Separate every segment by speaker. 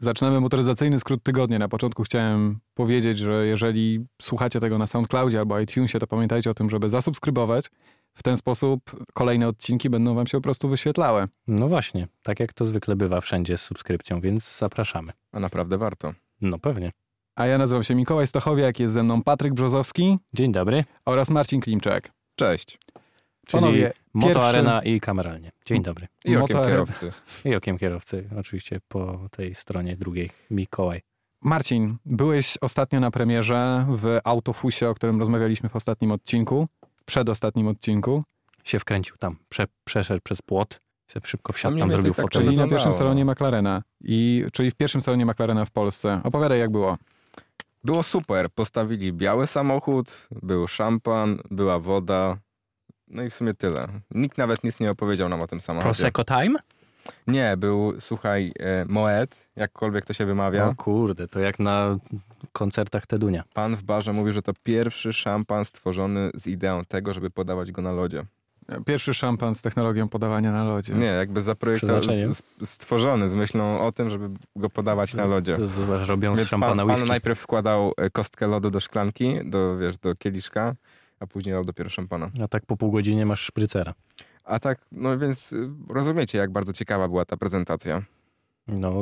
Speaker 1: Zaczynamy motoryzacyjny skrót tygodnia. Na początku chciałem powiedzieć, że jeżeli słuchacie tego na SoundCloudzie albo iTunesie, to pamiętajcie o tym, żeby zasubskrybować. W ten sposób kolejne odcinki będą wam się po prostu wyświetlały.
Speaker 2: No właśnie, tak jak to zwykle bywa wszędzie z subskrypcją, więc zapraszamy.
Speaker 3: A naprawdę warto.
Speaker 2: No pewnie.
Speaker 1: A ja nazywam się Mikołaj Stachowiak, jest ze mną Patryk Brzozowski
Speaker 2: Dzień dobry.
Speaker 1: oraz Marcin Klimczak.
Speaker 3: Cześć.
Speaker 2: Czyli
Speaker 1: Panowie, pierwszy-
Speaker 2: Moto Arena i kameralnie. Dzień dobry.
Speaker 3: I okiem
Speaker 1: Motorem.
Speaker 3: kierowcy.
Speaker 2: I okiem kierowcy, oczywiście po tej stronie drugiej, Mikołaj.
Speaker 1: Marcin, byłeś ostatnio na premierze w Autofusie, o którym rozmawialiśmy w ostatnim odcinku, w przedostatnim odcinku,
Speaker 2: Się wkręcił tam, prze, przeszedł przez płot, se szybko wsiadł,
Speaker 3: mniej
Speaker 2: tam
Speaker 3: więcej
Speaker 2: zrobił
Speaker 3: tak
Speaker 2: fotel.
Speaker 1: czyli na
Speaker 3: wyglądało?
Speaker 1: pierwszym salonie McLarena, i, czyli w pierwszym salonie McLarena w Polsce. Opowiadaj, jak było.
Speaker 3: Było super. Postawili biały samochód, był szampan, była woda. No i w sumie tyle. Nikt nawet nic nie opowiedział nam o tym samochodzie.
Speaker 2: Prosecco time?
Speaker 3: Nie, był, słuchaj, e, Moet, jakkolwiek to się wymawia.
Speaker 2: O kurde, to jak na koncertach Tedunia.
Speaker 3: Pan w barze mówi, że to pierwszy szampan stworzony z ideą tego, żeby podawać go na lodzie.
Speaker 1: Pierwszy szampan z technologią podawania na lodzie.
Speaker 3: Nie, jakby zaprojektowany,
Speaker 2: przeznaczeniem.
Speaker 3: z- z- stworzony z myślą o tym, żeby go podawać na lodzie.
Speaker 2: To Zobacz, robią z
Speaker 3: Więc pan,
Speaker 2: szampana
Speaker 3: pan
Speaker 2: whisky.
Speaker 3: najpierw wkładał e, kostkę lodu do szklanki, do, wiesz, do kieliszka, a później lał dopiero szampana.
Speaker 2: A tak po pół godzinie masz szprycera.
Speaker 3: A tak, no więc y, rozumiecie, jak bardzo ciekawa była ta prezentacja.
Speaker 2: No,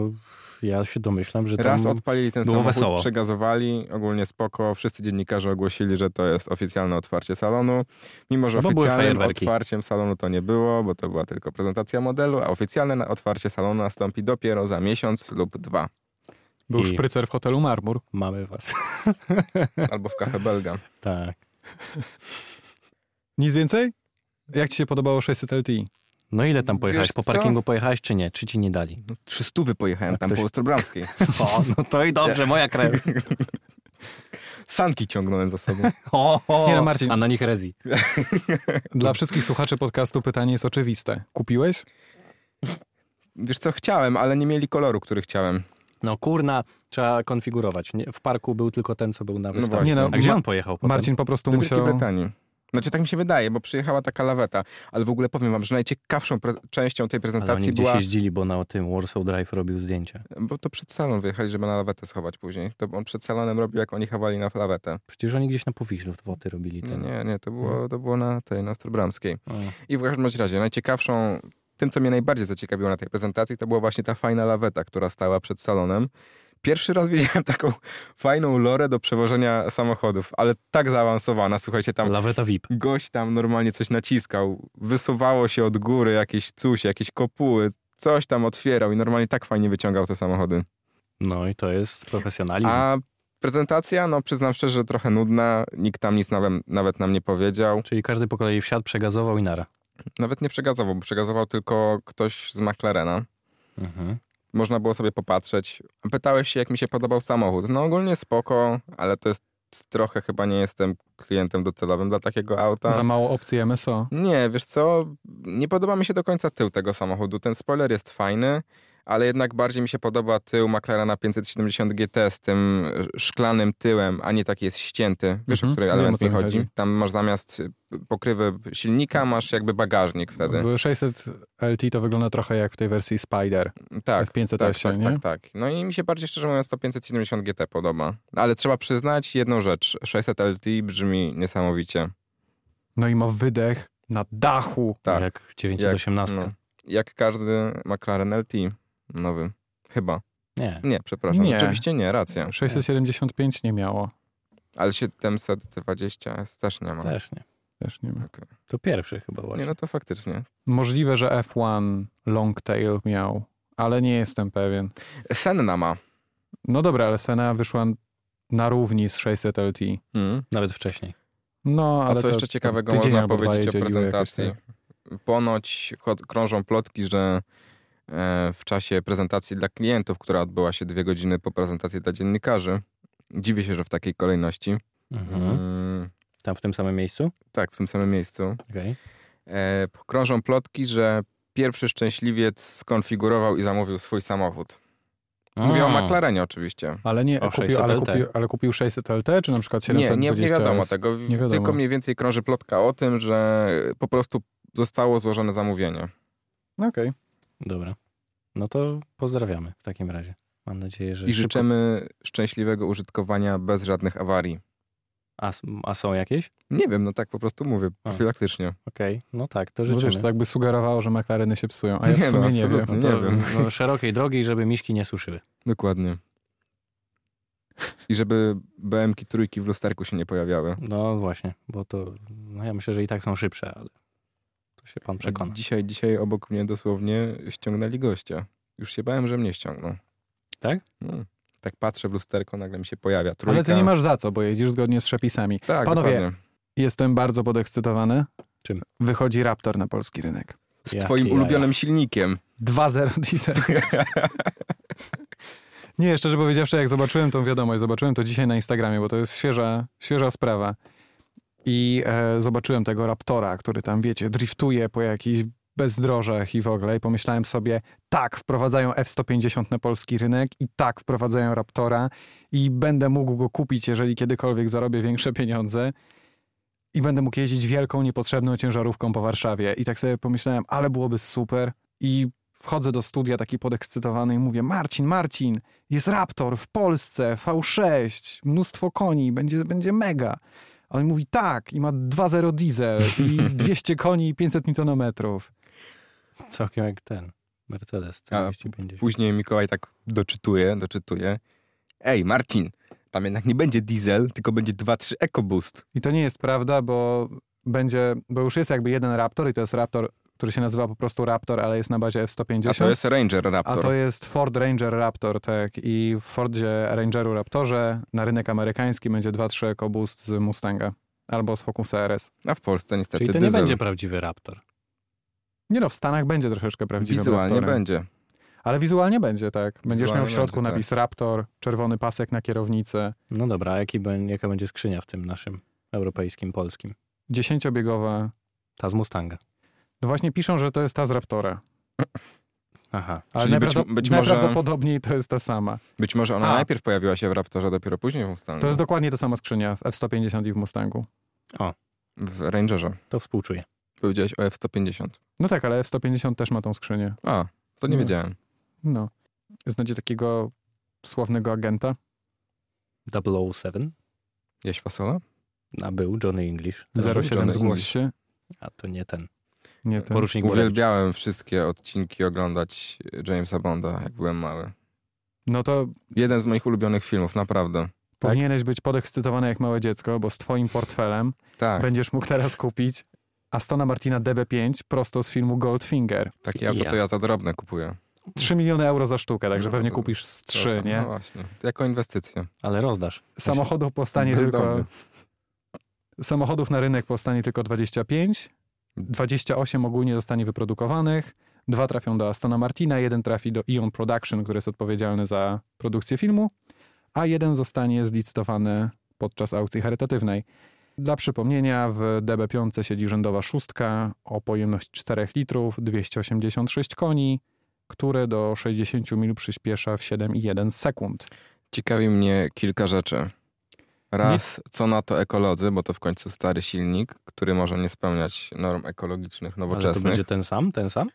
Speaker 2: ja się domyślam, że tam...
Speaker 3: Raz odpalili ten
Speaker 2: było
Speaker 3: samochód,
Speaker 2: wesoło.
Speaker 3: przegazowali, ogólnie spoko, wszyscy dziennikarze ogłosili, że to jest oficjalne otwarcie salonu, mimo że
Speaker 2: No bo były
Speaker 3: oficjalnym
Speaker 2: fajerwerki.
Speaker 3: otwarciem salonu to nie było, bo to była tylko prezentacja modelu, a oficjalne na- otwarcie salonu nastąpi dopiero za miesiąc lub dwa,
Speaker 1: Był
Speaker 2: I-
Speaker 1: szprycer w hotelu Marmur.
Speaker 2: Mamy was.
Speaker 3: albo w Cafe Belga.
Speaker 2: tak.
Speaker 1: Nic więcej? Jak ci się podobało 600 LTI?
Speaker 2: No ile tam pojechałeś?
Speaker 3: Wiesz
Speaker 2: po
Speaker 3: co?
Speaker 2: parkingu pojechałeś czy nie? Czy ci nie dali?
Speaker 3: No, trzy stówy pojechałem
Speaker 2: A
Speaker 3: tam
Speaker 2: ktoś-
Speaker 3: po Ostrobramskiej.
Speaker 2: O, no to i dobrze, moja krew.
Speaker 3: Sanki ciągnąłem za sobą.
Speaker 2: O, o.
Speaker 1: Nie no, Marcin.
Speaker 2: A na nich rezi.
Speaker 1: Dla wszystkich słuchaczy podcastu pytanie jest oczywiste. Kupiłeś?
Speaker 3: Wiesz co, chciałem, ale nie mieli koloru, który chciałem.
Speaker 2: No kurna, trzeba konfigurować. Nie, w parku był tylko ten, co był na wystawie.
Speaker 3: właśnie.
Speaker 1: Nie no,
Speaker 2: A gdzie
Speaker 1: Ma-
Speaker 2: on pojechał potem?
Speaker 1: Marcin po prostu
Speaker 3: Do Wielkiej
Speaker 1: musiał...
Speaker 3: Brytanii. Znaczy tak mi się wydaje, bo przyjechała taka laweta, ale w ogóle powiem wam, że najciekawszą pre- częścią
Speaker 2: Ale
Speaker 3: tej
Speaker 2: oni
Speaker 3: prezentacji
Speaker 2: gdzieś
Speaker 3: była,
Speaker 2: jeździli, bo na tym Warsaw Drive robił zdjęcia.
Speaker 3: bo to przed salą wyjechali, żeby na lawetę schować później. To on przed salonem robił, jak oni chawali na lawetę.
Speaker 2: Przecież oni gdzieś na Powiślu woty robili.
Speaker 3: Nie,
Speaker 2: Ten.
Speaker 3: No nie, nie, to było, to było na tej, na Ostrobramskiej.
Speaker 2: Tak. Mhm. O,
Speaker 3: I w każdym bądź razie najciekawszą, tym co mnie najbardziej zaciekawiło na tej prezentacji, to była właśnie ta fajna laweta, która stała przed salonem. Pierwszy raz widziałem taką fajną lorę do przewożenia samochodów, ale tak zaawansowana. Słuchajcie, tam
Speaker 2: Laweta VIP.
Speaker 3: gość tam normalnie coś naciskał, wysuwało się od góry jakieś cuś, jakieś kopuły, coś tam otwierał i normalnie tak fajnie wyciągał te samochody.
Speaker 2: No i to jest profesjonalizm.
Speaker 3: A prezentacja, no przyznam szczerze, trochę nudna, nikt tam nic nawet, nawet nam nie powiedział.
Speaker 2: Czyli każdy po kolei wsiadł, przegazował i nara.
Speaker 3: Nawet nie przegazował, bo przegazował tylko ktoś z McLarena.
Speaker 2: Mhm.
Speaker 3: Można było sobie popatrzeć. Pytałeś się, jak mi się podobał samochód. No ogólnie spoko, ale to jest trochę chyba nie jestem klientem docelowym dla takiego auta.
Speaker 1: Za mało opcji MSO.
Speaker 3: Nie, wiesz co, nie podoba mi się do końca tył tego samochodu. Ten spoiler jest fajny, ale jednak bardziej mi się podoba tył McLarena 570 GT z tym e, szklanym tyłem, a nie taki jest ścięty. Wiesz,
Speaker 1: Mhm,
Speaker 3: o który
Speaker 1: wiem, o
Speaker 3: element
Speaker 1: co
Speaker 3: mi
Speaker 1: mi
Speaker 3: chodzi?
Speaker 1: chodzi.
Speaker 3: Tam masz zamiast e, pokrywy silnika, masz jakby bagażnik wtedy.
Speaker 1: W 600 LT to wygląda trochę jak w tej wersji Spider.
Speaker 3: Tak.
Speaker 1: w 500
Speaker 3: Tak,
Speaker 1: nie?
Speaker 3: tak, tak, tak. No i mi się bardziej szczerze mówiąc to 570 GT podoba. Ale trzeba przyznać jedną rzecz. 600 LT brzmi niesamowicie.
Speaker 1: No i ma wydech na dachu.
Speaker 3: Tak.
Speaker 2: Jak 918.
Speaker 3: no, jak każdy McLaren LT nowy. Chyba.
Speaker 2: Nie.
Speaker 3: Nie, przepraszam.
Speaker 1: Nie.
Speaker 3: Rzeczywiście nie, racja.
Speaker 1: 675 nie miało.
Speaker 3: Ale 720 też nie ma.
Speaker 1: Tak.
Speaker 2: Też nie.
Speaker 1: Też nie ma.
Speaker 3: Okej.
Speaker 2: To pierwszy chyba właśnie.
Speaker 3: No. Nie, no to faktycznie.
Speaker 1: Możliwe, że F1 Longtail miał, ale nie jestem pewien.
Speaker 3: Senna ma.
Speaker 1: No dobra, ale Sena wyszła na równi z 600 LT.
Speaker 2: Nawet wcześniej.
Speaker 1: No,
Speaker 3: A
Speaker 1: Mm. ale
Speaker 3: co
Speaker 1: to,
Speaker 3: jeszcze ciekawego
Speaker 1: tydzień
Speaker 3: można
Speaker 1: albo dwa
Speaker 3: powiedzieć o
Speaker 1: jeździły jakoś
Speaker 3: prezentacji?
Speaker 1: tak.
Speaker 3: Ponoć chod- krążą plotki, że e, w czasie prezentacji dla klientów, która odbyła się dwie godziny po prezentacji dla dziennikarzy, dziwię się, że w takiej kolejności.
Speaker 2: Mhm.
Speaker 3: Mm,
Speaker 2: Tam w tym samym miejscu?
Speaker 3: tak, w tym samym miejscu.
Speaker 2: Okej.
Speaker 3: E, krążą plotki, że pierwszy szczęśliwiec skonfigurował i zamówił swój samochód. Mówię o
Speaker 2: A.
Speaker 3: McLarenie oczywiście.
Speaker 1: Ale nie,
Speaker 2: O,
Speaker 1: kupił,
Speaker 2: 600
Speaker 1: ale,
Speaker 2: LT.
Speaker 1: kupił, ale kupił 600 LT, czy na przykład
Speaker 3: Nie,
Speaker 1: 720
Speaker 3: nie, nie wiadomo
Speaker 1: S?
Speaker 3: tego.
Speaker 1: Nie wiadomo.
Speaker 3: Tylko mniej więcej krąży plotka o tym, że po prostu zostało złożone zamówienie.
Speaker 1: Okej.
Speaker 2: Dobra. No to No pozdrawiamy w takim razie. Mam nadzieję, że
Speaker 3: I
Speaker 2: szybko-
Speaker 3: życzymy szczęśliwego użytkowania bez żadnych awarii.
Speaker 2: A, s- a są jakieś?
Speaker 3: Nie wiem, no tak po prostu mówię,
Speaker 2: A.
Speaker 3: profilaktycznie.
Speaker 2: Okej, no tak, to
Speaker 1: Bo
Speaker 2: życzymy.
Speaker 1: wiesz, tak by sugerowało, że McLareny się psują, a ja
Speaker 3: Nie,
Speaker 1: w
Speaker 3: no,
Speaker 1: sumie nie wiem.
Speaker 3: absolutnie.
Speaker 2: no
Speaker 3: nie
Speaker 2: to,
Speaker 3: wiem.
Speaker 2: No, szerokiej drogi, żeby miśki nie suszyły.
Speaker 3: Dokładnie. I żeby BM-ki trójki w lusterku się nie pojawiały.
Speaker 2: No właśnie, bo to, no ja myślę, że i tak są szybsze, ale to się pan przekona.
Speaker 3: Dzisiaj, dzisiaj obok mnie dosłownie ściągnęli gościa. Już się bałem, że mnie ściągną.
Speaker 2: Tak?
Speaker 3: No. Tak patrzę w lusterko, nagle mi się pojawia trójka.
Speaker 1: Ale ty nie masz za co, bo jedziesz zgodnie z przepisami.
Speaker 3: Tak,
Speaker 1: Panowie,
Speaker 3: dokładnie.
Speaker 1: Jestem bardzo podekscytowany.
Speaker 2: Czym?
Speaker 1: Wychodzi Raptor na polski rynek.
Speaker 3: Z
Speaker 2: Jakie
Speaker 3: twoim
Speaker 2: jaja.
Speaker 3: ulubionym silnikiem.
Speaker 1: 2.0 diesel. Nie, szczerze powiedziawszy, jak zobaczyłem tą wiadomość, zobaczyłem to dzisiaj na Instagramie, bo to jest świeża, świeża sprawa. I e, zobaczyłem tego Raptora, który tam, wiecie, driftuje po jakichś bezdrożach i w ogóle. I pomyślałem sobie, tak, wprowadzają F-150 na polski rynek i tak, wprowadzają Raptora i będę mógł go kupić, jeżeli kiedykolwiek zarobię większe pieniądze. I będę mógł jeździć wielką, niepotrzebną ciężarówką po Warszawie. I tak sobie pomyślałem, ale byłoby super. I wchodzę do studia taki podekscytowany i mówię, Marcin, Marcin, jest Raptor w Polsce, V6, mnóstwo koni, będzie, będzie mega. A on mówi, tak, i ma 2.0 diesel i 200 koni i 500 newtonometrów.
Speaker 2: Całkiem jak ten Mercedes
Speaker 3: A,
Speaker 2: 250.
Speaker 3: Później Mikołaj tak doczytuje, doczytuje. Ej, Marcin, tam jednak nie będzie diesel, tylko będzie 2-3 EcoBoost.
Speaker 1: I to nie jest prawda, bo będzie, bo już jest jakby jeden Raptor i to jest Raptor, który się nazywa po prostu Raptor, ale jest na bazie F-150.
Speaker 3: A to jest Ranger Raptor.
Speaker 1: A to jest Ford Ranger Raptor, tak. I w Fordzie Rangeru Raptorze na rynek amerykański będzie 2.3 EcoBoost z Mustanga albo z Focusa RS.
Speaker 3: A w Polsce niestety
Speaker 2: Czyli to nie
Speaker 3: diesel
Speaker 2: będzie prawdziwy Raptor.
Speaker 1: Nie no, w Stanach będzie troszeczkę prawdziwym
Speaker 3: Wizualnie
Speaker 1: Raptorem.
Speaker 3: będzie.
Speaker 1: Ale wizualnie będzie, tak. Będziesz
Speaker 3: Wizualnie
Speaker 1: miał w środku
Speaker 3: będzie, tak.
Speaker 1: napis Raptor, czerwony pasek na kierownicę,
Speaker 2: No dobra, a jaki, bę- jaka będzie skrzynia w tym naszym europejskim, polskim?
Speaker 1: dziesięciobiegowa.
Speaker 2: Ta z Mustanga.
Speaker 1: No właśnie piszą, że to jest ta z Raptora.
Speaker 2: Aha.
Speaker 1: Ale
Speaker 3: Czyli być-
Speaker 1: najprawdop-
Speaker 3: być może-
Speaker 1: najprawdopodobniej to jest ta sama.
Speaker 3: Być może ona
Speaker 1: A.
Speaker 3: najpierw pojawiła się w Raptorze, dopiero później w Mustangu.
Speaker 1: To jest dokładnie ta sama skrzynia w F-150 i w Mustangu.
Speaker 3: W Rangerze.
Speaker 2: To współczuję.
Speaker 3: Powiedziałeś o F-150.
Speaker 1: No tak, ale F-150 też ma tą skrzynię.
Speaker 3: A, to nie
Speaker 1: No.
Speaker 3: wiedziałem.
Speaker 1: No. Znacie takiego sławnego agenta?
Speaker 2: 007?
Speaker 3: Jaś Fasola?
Speaker 2: A był Johnny English.
Speaker 3: Zero. Johnny
Speaker 1: 07 zgłoś
Speaker 3: English.
Speaker 1: się.
Speaker 2: A to nie ten.
Speaker 1: Nie ten.
Speaker 2: Porucznik Borewicz.
Speaker 3: Uwielbiałem wszystkie odcinki oglądać Jamesa Bonda, jak byłem mały.
Speaker 1: No to
Speaker 3: Jeden z moich ulubionych filmów, naprawdę.
Speaker 1: powinieneś być podekscytowany jak małe dziecko, bo z twoim portfelem
Speaker 3: Tak,
Speaker 1: będziesz mógł teraz kupić Astona Martina DB5 prosto z filmu Goldfinger.
Speaker 3: takie auto
Speaker 2: Ja.
Speaker 3: to ja za drobne kupuję.
Speaker 1: 3 miliony euro za sztukę, także
Speaker 3: No,
Speaker 1: pewnie
Speaker 3: to-
Speaker 1: kupisz z
Speaker 3: To-
Speaker 1: 3, nie?
Speaker 3: No właśnie, to jako inwestycję.
Speaker 2: Ale rozdasz.
Speaker 1: Samochodów powstanie tylko...
Speaker 3: Bezdomny.
Speaker 1: Samochodów na rynek powstanie tylko 25, 28 ogólnie zostanie wyprodukowanych, dwa trafią do Astona Martina, jeden trafi do Ion Production, który jest odpowiedzialny za produkcję filmu, a jeden zostanie zlicytowany podczas aukcji charytatywnej. Dla przypomnienia, w DB5 siedzi rzędowa szóstka o pojemność 4 litrów, 286 koni, które do 60 mil przyspiesza w 7,1 sekund.
Speaker 3: Ciekawi mnie kilka rzeczy. Raz, co na to ekolodzy, bo to w końcu stary silnik, który może nie spełniać norm ekologicznych,
Speaker 2: Ale to
Speaker 3: nowoczesnych.
Speaker 2: będzie ten sam? Ten sam?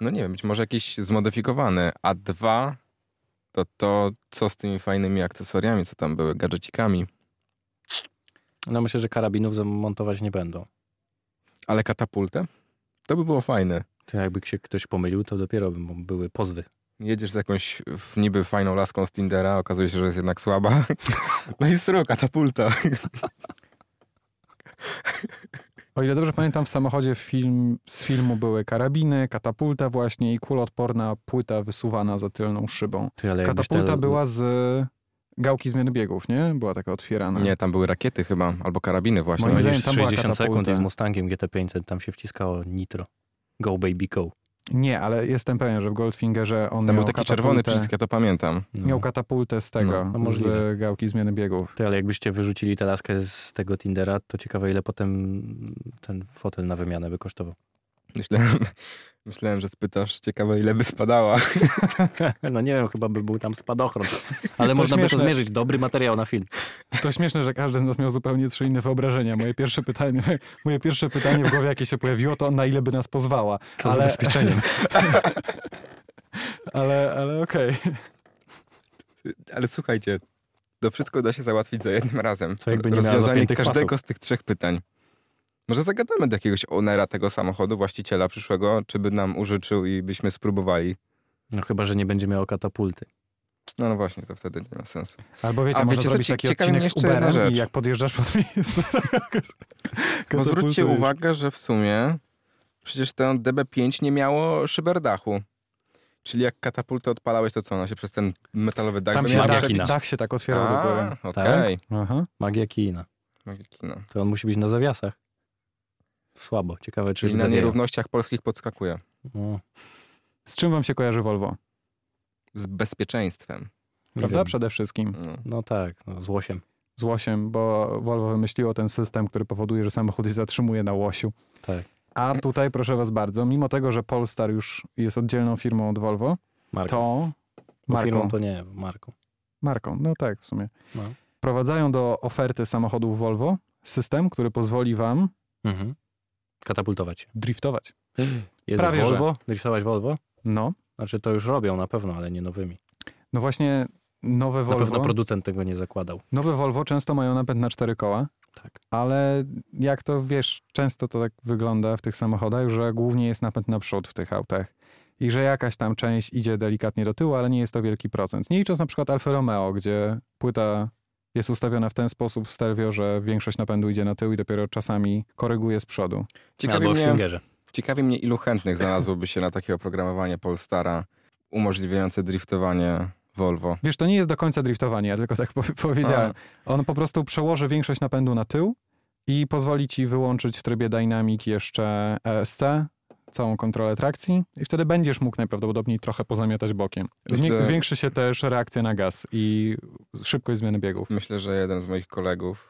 Speaker 3: No nie wiem, być może jakiś zmodyfikowany. A dwa, to to, co z tymi fajnymi akcesoriami, co tam były, gadżecikami.
Speaker 2: No myślę, że karabinów zamontować nie będą.
Speaker 3: Ale katapultę? To by było fajne.
Speaker 2: To jakby się ktoś pomylił, to dopiero by mu były pozwy.
Speaker 3: Jedziesz z jakąś w niby fajną laską z Tindera, okazuje się, że jest jednak słaba. No i sru, katapulta.
Speaker 1: O ile dobrze pamiętam, w samochodzie film, z filmu były karabiny, katapulta właśnie i kuloodporna płyta wysuwana za tylną szybą.
Speaker 2: Ty,
Speaker 3: Tak
Speaker 2: ale jakbyś
Speaker 1: Katapulta
Speaker 2: te-
Speaker 1: była z gałki zmiany biegów, nie? Była taka otwierana.
Speaker 3: Nie, tam były rakiety chyba, albo karabiny właśnie. No
Speaker 1: Moim
Speaker 2: Moim
Speaker 1: zdaniem
Speaker 2: zdaniem
Speaker 1: tam była
Speaker 2: 60 sekund
Speaker 1: katapulta.
Speaker 2: i z Mustangiem GT500 tam się wciskało nitro. Go baby go.
Speaker 1: Nie, ale jestem pewien, że w Goldfingerze on
Speaker 3: Tam
Speaker 1: miał
Speaker 3: był taki
Speaker 1: katapultę,
Speaker 3: czerwony przycisk, ja to pamiętam.
Speaker 2: No.
Speaker 1: Miał katapultę z
Speaker 3: No,
Speaker 1: tego,
Speaker 2: no możliwe.
Speaker 1: z gałki zmiany biegów.
Speaker 2: Ty, ale jakbyście wyrzucili tę laskę z tego Tindera, to ciekawe ile potem ten fotel na wymianę by kosztował.
Speaker 3: Myślałem, myślałem, że spytasz, ciekawe ile by spadała.
Speaker 2: No nie wiem, chyba by był tam spadochron. Ale można by to
Speaker 1: śmieszne.
Speaker 2: zmierzyć. Dobry materiał na film.
Speaker 1: To śmieszne, że każdy z nas miał zupełnie trzy inne wyobrażenia. Moje pierwsze pytanie, moje pierwsze pytanie w głowie, jakie się pojawiło, to na ile by nas pozwała.
Speaker 2: Co z ubezpieczeniem?
Speaker 1: Ale, ale okej.
Speaker 3: Ale słuchajcie, to wszystko da się załatwić za jednym razem.
Speaker 2: Co jakby nie miała
Speaker 3: Rozwiązanie
Speaker 2: zapiętych
Speaker 3: każdego
Speaker 2: pasów.
Speaker 3: z tych trzech pytań. Może zagadamy do jakiegoś ownera tego samochodu, właściciela przyszłego, czy by nam użyczył i byśmy spróbowali.
Speaker 2: No chyba, że nie będzie miał katapulty.
Speaker 3: No, no właśnie, to wtedy nie ma sensu.
Speaker 1: Albo wiecie,
Speaker 3: A
Speaker 1: można
Speaker 3: wiecie co,
Speaker 1: zrobić
Speaker 3: cie-
Speaker 1: taki
Speaker 3: ciekawi
Speaker 1: odcinek
Speaker 3: mnie
Speaker 1: z
Speaker 3: jeszcze jedna
Speaker 1: Uberem i
Speaker 3: rzecz.
Speaker 1: jak podjeżdżasz pod miejsce. to jakoś
Speaker 3: Bo zwróćcie
Speaker 1: katapultujesz.
Speaker 3: uwagę, że w sumie przecież ten DB5 nie miało szyberdachu. Czyli jak katapultę odpalałeś, to co? Ona się przez ten metalowy dach
Speaker 1: Tam się
Speaker 2: miała
Speaker 1: dach,
Speaker 2: przekina.
Speaker 1: dach się tak otwierał do góry.
Speaker 3: A, okej.
Speaker 1: Aha.
Speaker 2: Magia kina.
Speaker 3: Magia kina.
Speaker 2: To on musi być na zawiasach. Słabo. Ciekawe, czy
Speaker 3: Czyli na
Speaker 2: widzowie-
Speaker 3: nierównościach polskich podskakuje.
Speaker 2: No,
Speaker 1: Z czym wam się kojarzy Volvo?
Speaker 3: Z bezpieczeństwem.
Speaker 2: nie
Speaker 1: Prawda?
Speaker 2: wiem.
Speaker 1: Przede wszystkim.
Speaker 3: No.
Speaker 2: no tak, no, z łosiem.
Speaker 1: Z łosiem, bo Volvo wymyśliło ten system, który powoduje, że samochód się zatrzymuje na łosiu.
Speaker 2: Tak.
Speaker 1: A tutaj, proszę was bardzo, mimo tego, że Polstar już jest oddzielną firmą od Volvo,
Speaker 2: Marką.
Speaker 1: to
Speaker 2: Bo Firmą
Speaker 1: marką,
Speaker 2: to nie, marką.
Speaker 1: marką, no tak w sumie,
Speaker 2: No.
Speaker 1: prowadzają do oferty samochodów Volvo system, który pozwoli wam
Speaker 2: Mhm. Katapultować się.
Speaker 1: driftować.
Speaker 2: Jezu,
Speaker 1: Prawie, że.
Speaker 2: Volvo? Rysować Volvo?
Speaker 1: No,
Speaker 2: Znaczy to już robią na pewno, ale nie nowymi.
Speaker 1: no właśnie nowe
Speaker 2: Na pewno
Speaker 1: Volvo,
Speaker 2: producent tego nie zakładał.
Speaker 1: nowe Volvo często mają napęd na cztery koła,
Speaker 2: Tak.
Speaker 1: ale jak to wiesz, często to tak wygląda w tych samochodach, że głównie jest napęd na przód w tych autach. I że jakaś tam część idzie delikatnie do tyłu, ale nie jest to wielki procent. Nie licząc na przykład Alfa Romeo, gdzie płyta jest ustawiona w ten sposób w stereo, że większość napędu idzie na tył i dopiero czasami koryguje z przodu.
Speaker 3: Ciekawi,
Speaker 2: Albo w
Speaker 3: mnie,
Speaker 2: Singerze.
Speaker 3: ciekawi mnie, ilu chętnych znalazłoby się na takie oprogramowanie Polstara umożliwiające driftowanie Volvo.
Speaker 1: Wiesz, to nie jest do końca driftowanie, ja tylko tak po- powiedziałem. On po prostu przełoży większość napędu na tył i pozwoli ci wyłączyć w trybie Dynamic jeszcze ESC, całą kontrolę trakcji i wtedy będziesz mógł najprawdopodobniej trochę pozamiatać bokiem. Zmi-
Speaker 3: Myślę-
Speaker 1: zwiększy się też reakcja na gaz i szybkość zmiany biegów.
Speaker 3: Myślę, że jeden z moich kolegów,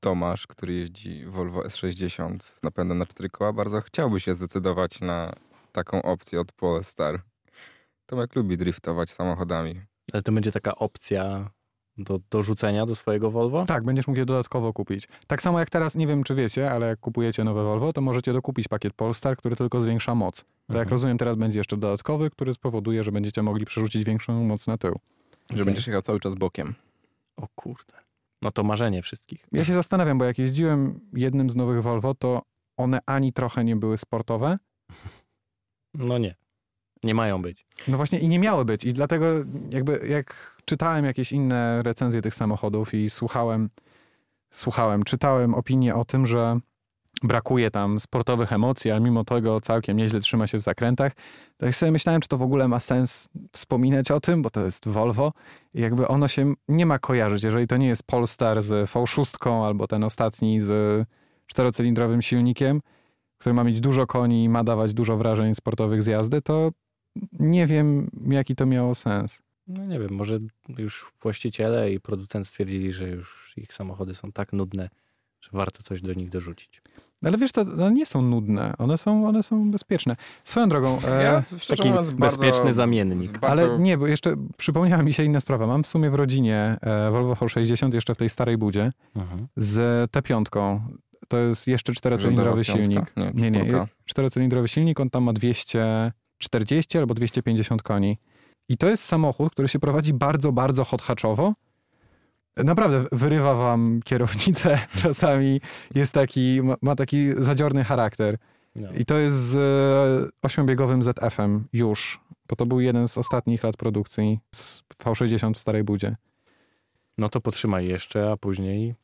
Speaker 3: Tomasz, który jeździ Volvo S60 z napędem na cztery koła, bardzo chciałby się zdecydować na taką opcję od Polestar. Tomek lubi driftować samochodami.
Speaker 2: Ale to będzie taka opcja do dorzucenia do swojego Volvo?
Speaker 1: Tak, będziesz mógł je dodatkowo kupić. Tak samo jak teraz, nie wiem czy wiecie, ale jak kupujecie nowe Volvo, to możecie dokupić pakiet Polestar, który tylko zwiększa moc. To jak
Speaker 2: Mhm.
Speaker 1: rozumiem, teraz będzie jeszcze dodatkowy, który spowoduje, że będziecie mogli przerzucić większą moc na tył.
Speaker 3: Że
Speaker 2: Okej.
Speaker 3: będziesz jechał cały czas bokiem.
Speaker 2: O kurde. No to marzenie wszystkich.
Speaker 1: Ja się zastanawiam, bo jak jeździłem jednym z nowych Volvo, to one ani trochę nie były sportowe.
Speaker 2: No nie. Nie mają być.
Speaker 1: No właśnie i nie miały być. I dlatego jakby jak czytałem jakieś inne recenzje tych samochodów i słuchałem, słuchałem, czytałem opinie o tym, że brakuje tam sportowych emocji, a mimo tego całkiem nieźle trzyma się w zakrętach, to jak sobie myślałem, czy to w ogóle ma sens wspominać o tym, bo to jest Volvo i jakby ono się nie ma kojarzyć, jeżeli to nie jest Polestar z V6 albo ten ostatni z czterocylindrowym silnikiem, który ma mieć dużo koni i ma dawać dużo wrażeń sportowych z jazdy, to nie wiem, jaki to miało sens.
Speaker 2: No nie wiem, może już właściciele i producent stwierdzili, że już ich samochody są tak nudne, że warto coś do nich dorzucić.
Speaker 1: Ale wiesz, to one nie są nudne, one są, one są bezpieczne. Swoją drogą, e,
Speaker 3: Ja, szczerze
Speaker 2: Taki
Speaker 3: mówiąc, bardzo-
Speaker 2: bezpieczny zamiennik.
Speaker 3: bardzo-
Speaker 1: ale nie, bo jeszcze przypomniała mi się inna sprawa. Mam w sumie w rodzinie e, Volvo V60 jeszcze w tej starej budzie
Speaker 2: Mhm.
Speaker 1: z T5. To jest jeszcze czterocylindrowy
Speaker 3: Rządowa piątka?
Speaker 1: silnik. Nie,
Speaker 3: Nie,
Speaker 1: nie,
Speaker 3: czwórka.
Speaker 1: czterocylindrowy silnik, on tam ma 240 albo 250 koni. I to jest samochód, który się prowadzi bardzo, bardzo hot-hatchowo. Naprawdę wyrywa wam kierownicę czasami. Jest taki, ma, ma taki zadziorny charakter.
Speaker 2: No.
Speaker 1: I to jest z e, ośmiobiegowym ZF-em już, bo to był jeden z ostatnich lat produkcji z V60 w starej budzie.
Speaker 2: no to potrzymaj jeszcze, a później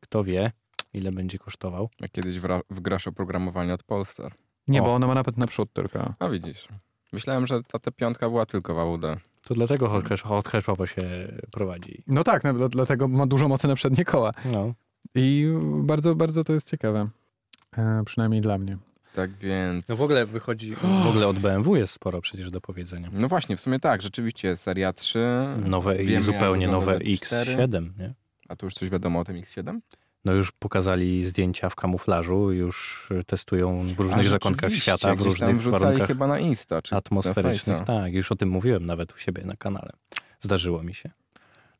Speaker 2: kto wie, ile będzie kosztował.
Speaker 3: Jak kiedyś wra- wgrasz oprogramowanie od Polstar.
Speaker 1: Nie,
Speaker 2: O.
Speaker 1: bo ono ma napęd na przód tylko.
Speaker 3: A widzisz. Myślałem, że ta, ta piątka była tylko w AUD.
Speaker 2: To dlatego hot- hot hatchowo się prowadzi.
Speaker 1: No tak, no, dla- dlatego ma dużo mocy na przednie koła.
Speaker 2: No.
Speaker 1: I bardzo, bardzo to jest ciekawe. E, przynajmniej dla mnie.
Speaker 3: Tak więc...
Speaker 2: No w ogóle wychodzi, w ogóle od BMW jest sporo przecież do powiedzenia.
Speaker 3: No właśnie, w sumie tak, rzeczywiście, seria 3,
Speaker 2: Nowe i
Speaker 3: Wiemy,
Speaker 2: zupełnie
Speaker 3: jak
Speaker 2: nowe
Speaker 3: wygląda T4.
Speaker 2: X7, nie?
Speaker 3: a tu już coś wiadomo o tym X7?
Speaker 2: No już pokazali zdjęcia w kamuflażu, już testują w różnych
Speaker 3: A
Speaker 2: zakątkach
Speaker 3: rzeczywiście,
Speaker 2: świata, w
Speaker 3: gdzieś tam
Speaker 2: różnych
Speaker 3: wrzucali
Speaker 2: warunkach
Speaker 3: chyba na Insta, czy na
Speaker 2: atmosferycznych.
Speaker 3: Face'a.
Speaker 2: Tak, już o tym mówiłem nawet u siebie na kanale. Zdarzyło mi się.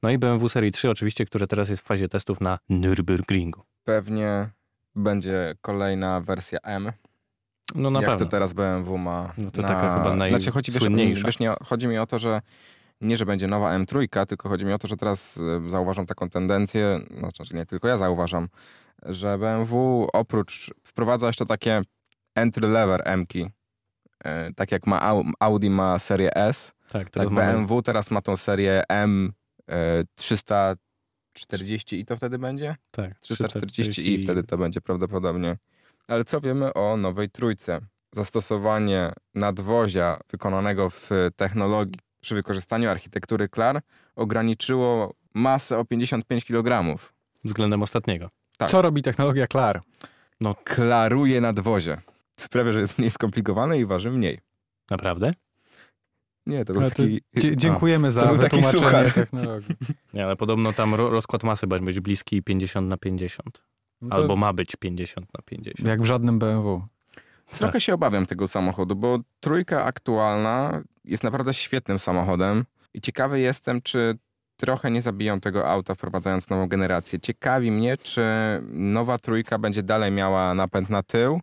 Speaker 2: No i BMW Serii 3 oczywiście, które teraz jest w fazie testów na Nürburgringu.
Speaker 3: Pewnie będzie kolejna wersja M.
Speaker 2: No na
Speaker 3: jak
Speaker 2: pewno.
Speaker 3: to teraz BMW ma.
Speaker 2: No to
Speaker 3: na...
Speaker 2: taka chyba
Speaker 3: Znaczy, chodzi, wiesz,
Speaker 2: najsłynniejsza.
Speaker 3: wiesz, nie, chodzi mi o to, że Nie, że będzie nowa M3, tylko chodzi mi o to, że teraz y, zauważam taką tendencję, no, znaczy nie tylko ja zauważam, że BMW oprócz wprowadza jeszcze takie entry level M-ki, y, tak jak ma Au- Audi ma serię S,
Speaker 2: Tak, teraz
Speaker 3: tak
Speaker 2: mamy
Speaker 3: BMW teraz ma tą serię M340 i to wtedy będzie?
Speaker 2: tak,
Speaker 3: 340 i wtedy to będzie prawdopodobnie. Ale co wiemy o nowej trójce? Zastosowanie nadwozia wykonanego w technologii przy wykorzystaniu architektury Klar ograniczyło masę o 55 kg.
Speaker 2: Względem ostatniego.
Speaker 3: Tak.
Speaker 1: Co robi technologia Klar?
Speaker 2: No,
Speaker 3: Klaruje nadwozie. Sprawia, że jest mniej skomplikowane i waży mniej.
Speaker 2: naprawdę?
Speaker 3: Nie, to był
Speaker 1: Ale to
Speaker 3: taki...
Speaker 1: Dzie- dziękujemy za
Speaker 3: to był taki
Speaker 1: wytłumaczenie
Speaker 3: suchar.
Speaker 1: technologii.
Speaker 2: Nie, ale podobno tam ro- rozkład masy będzie być bliski 50 na 50.
Speaker 1: No to
Speaker 2: Albo ma być 50 na 50.
Speaker 1: Jak w żadnym BMW. Tak.
Speaker 3: Trochę się obawiam tego samochodu, bo trójka aktualna jest naprawdę świetnym samochodem i ciekawy jestem, czy trochę nie zabiją tego auta wprowadzając nową generację. Ciekawi mnie, czy nowa trójka będzie dalej miała napęd na tył,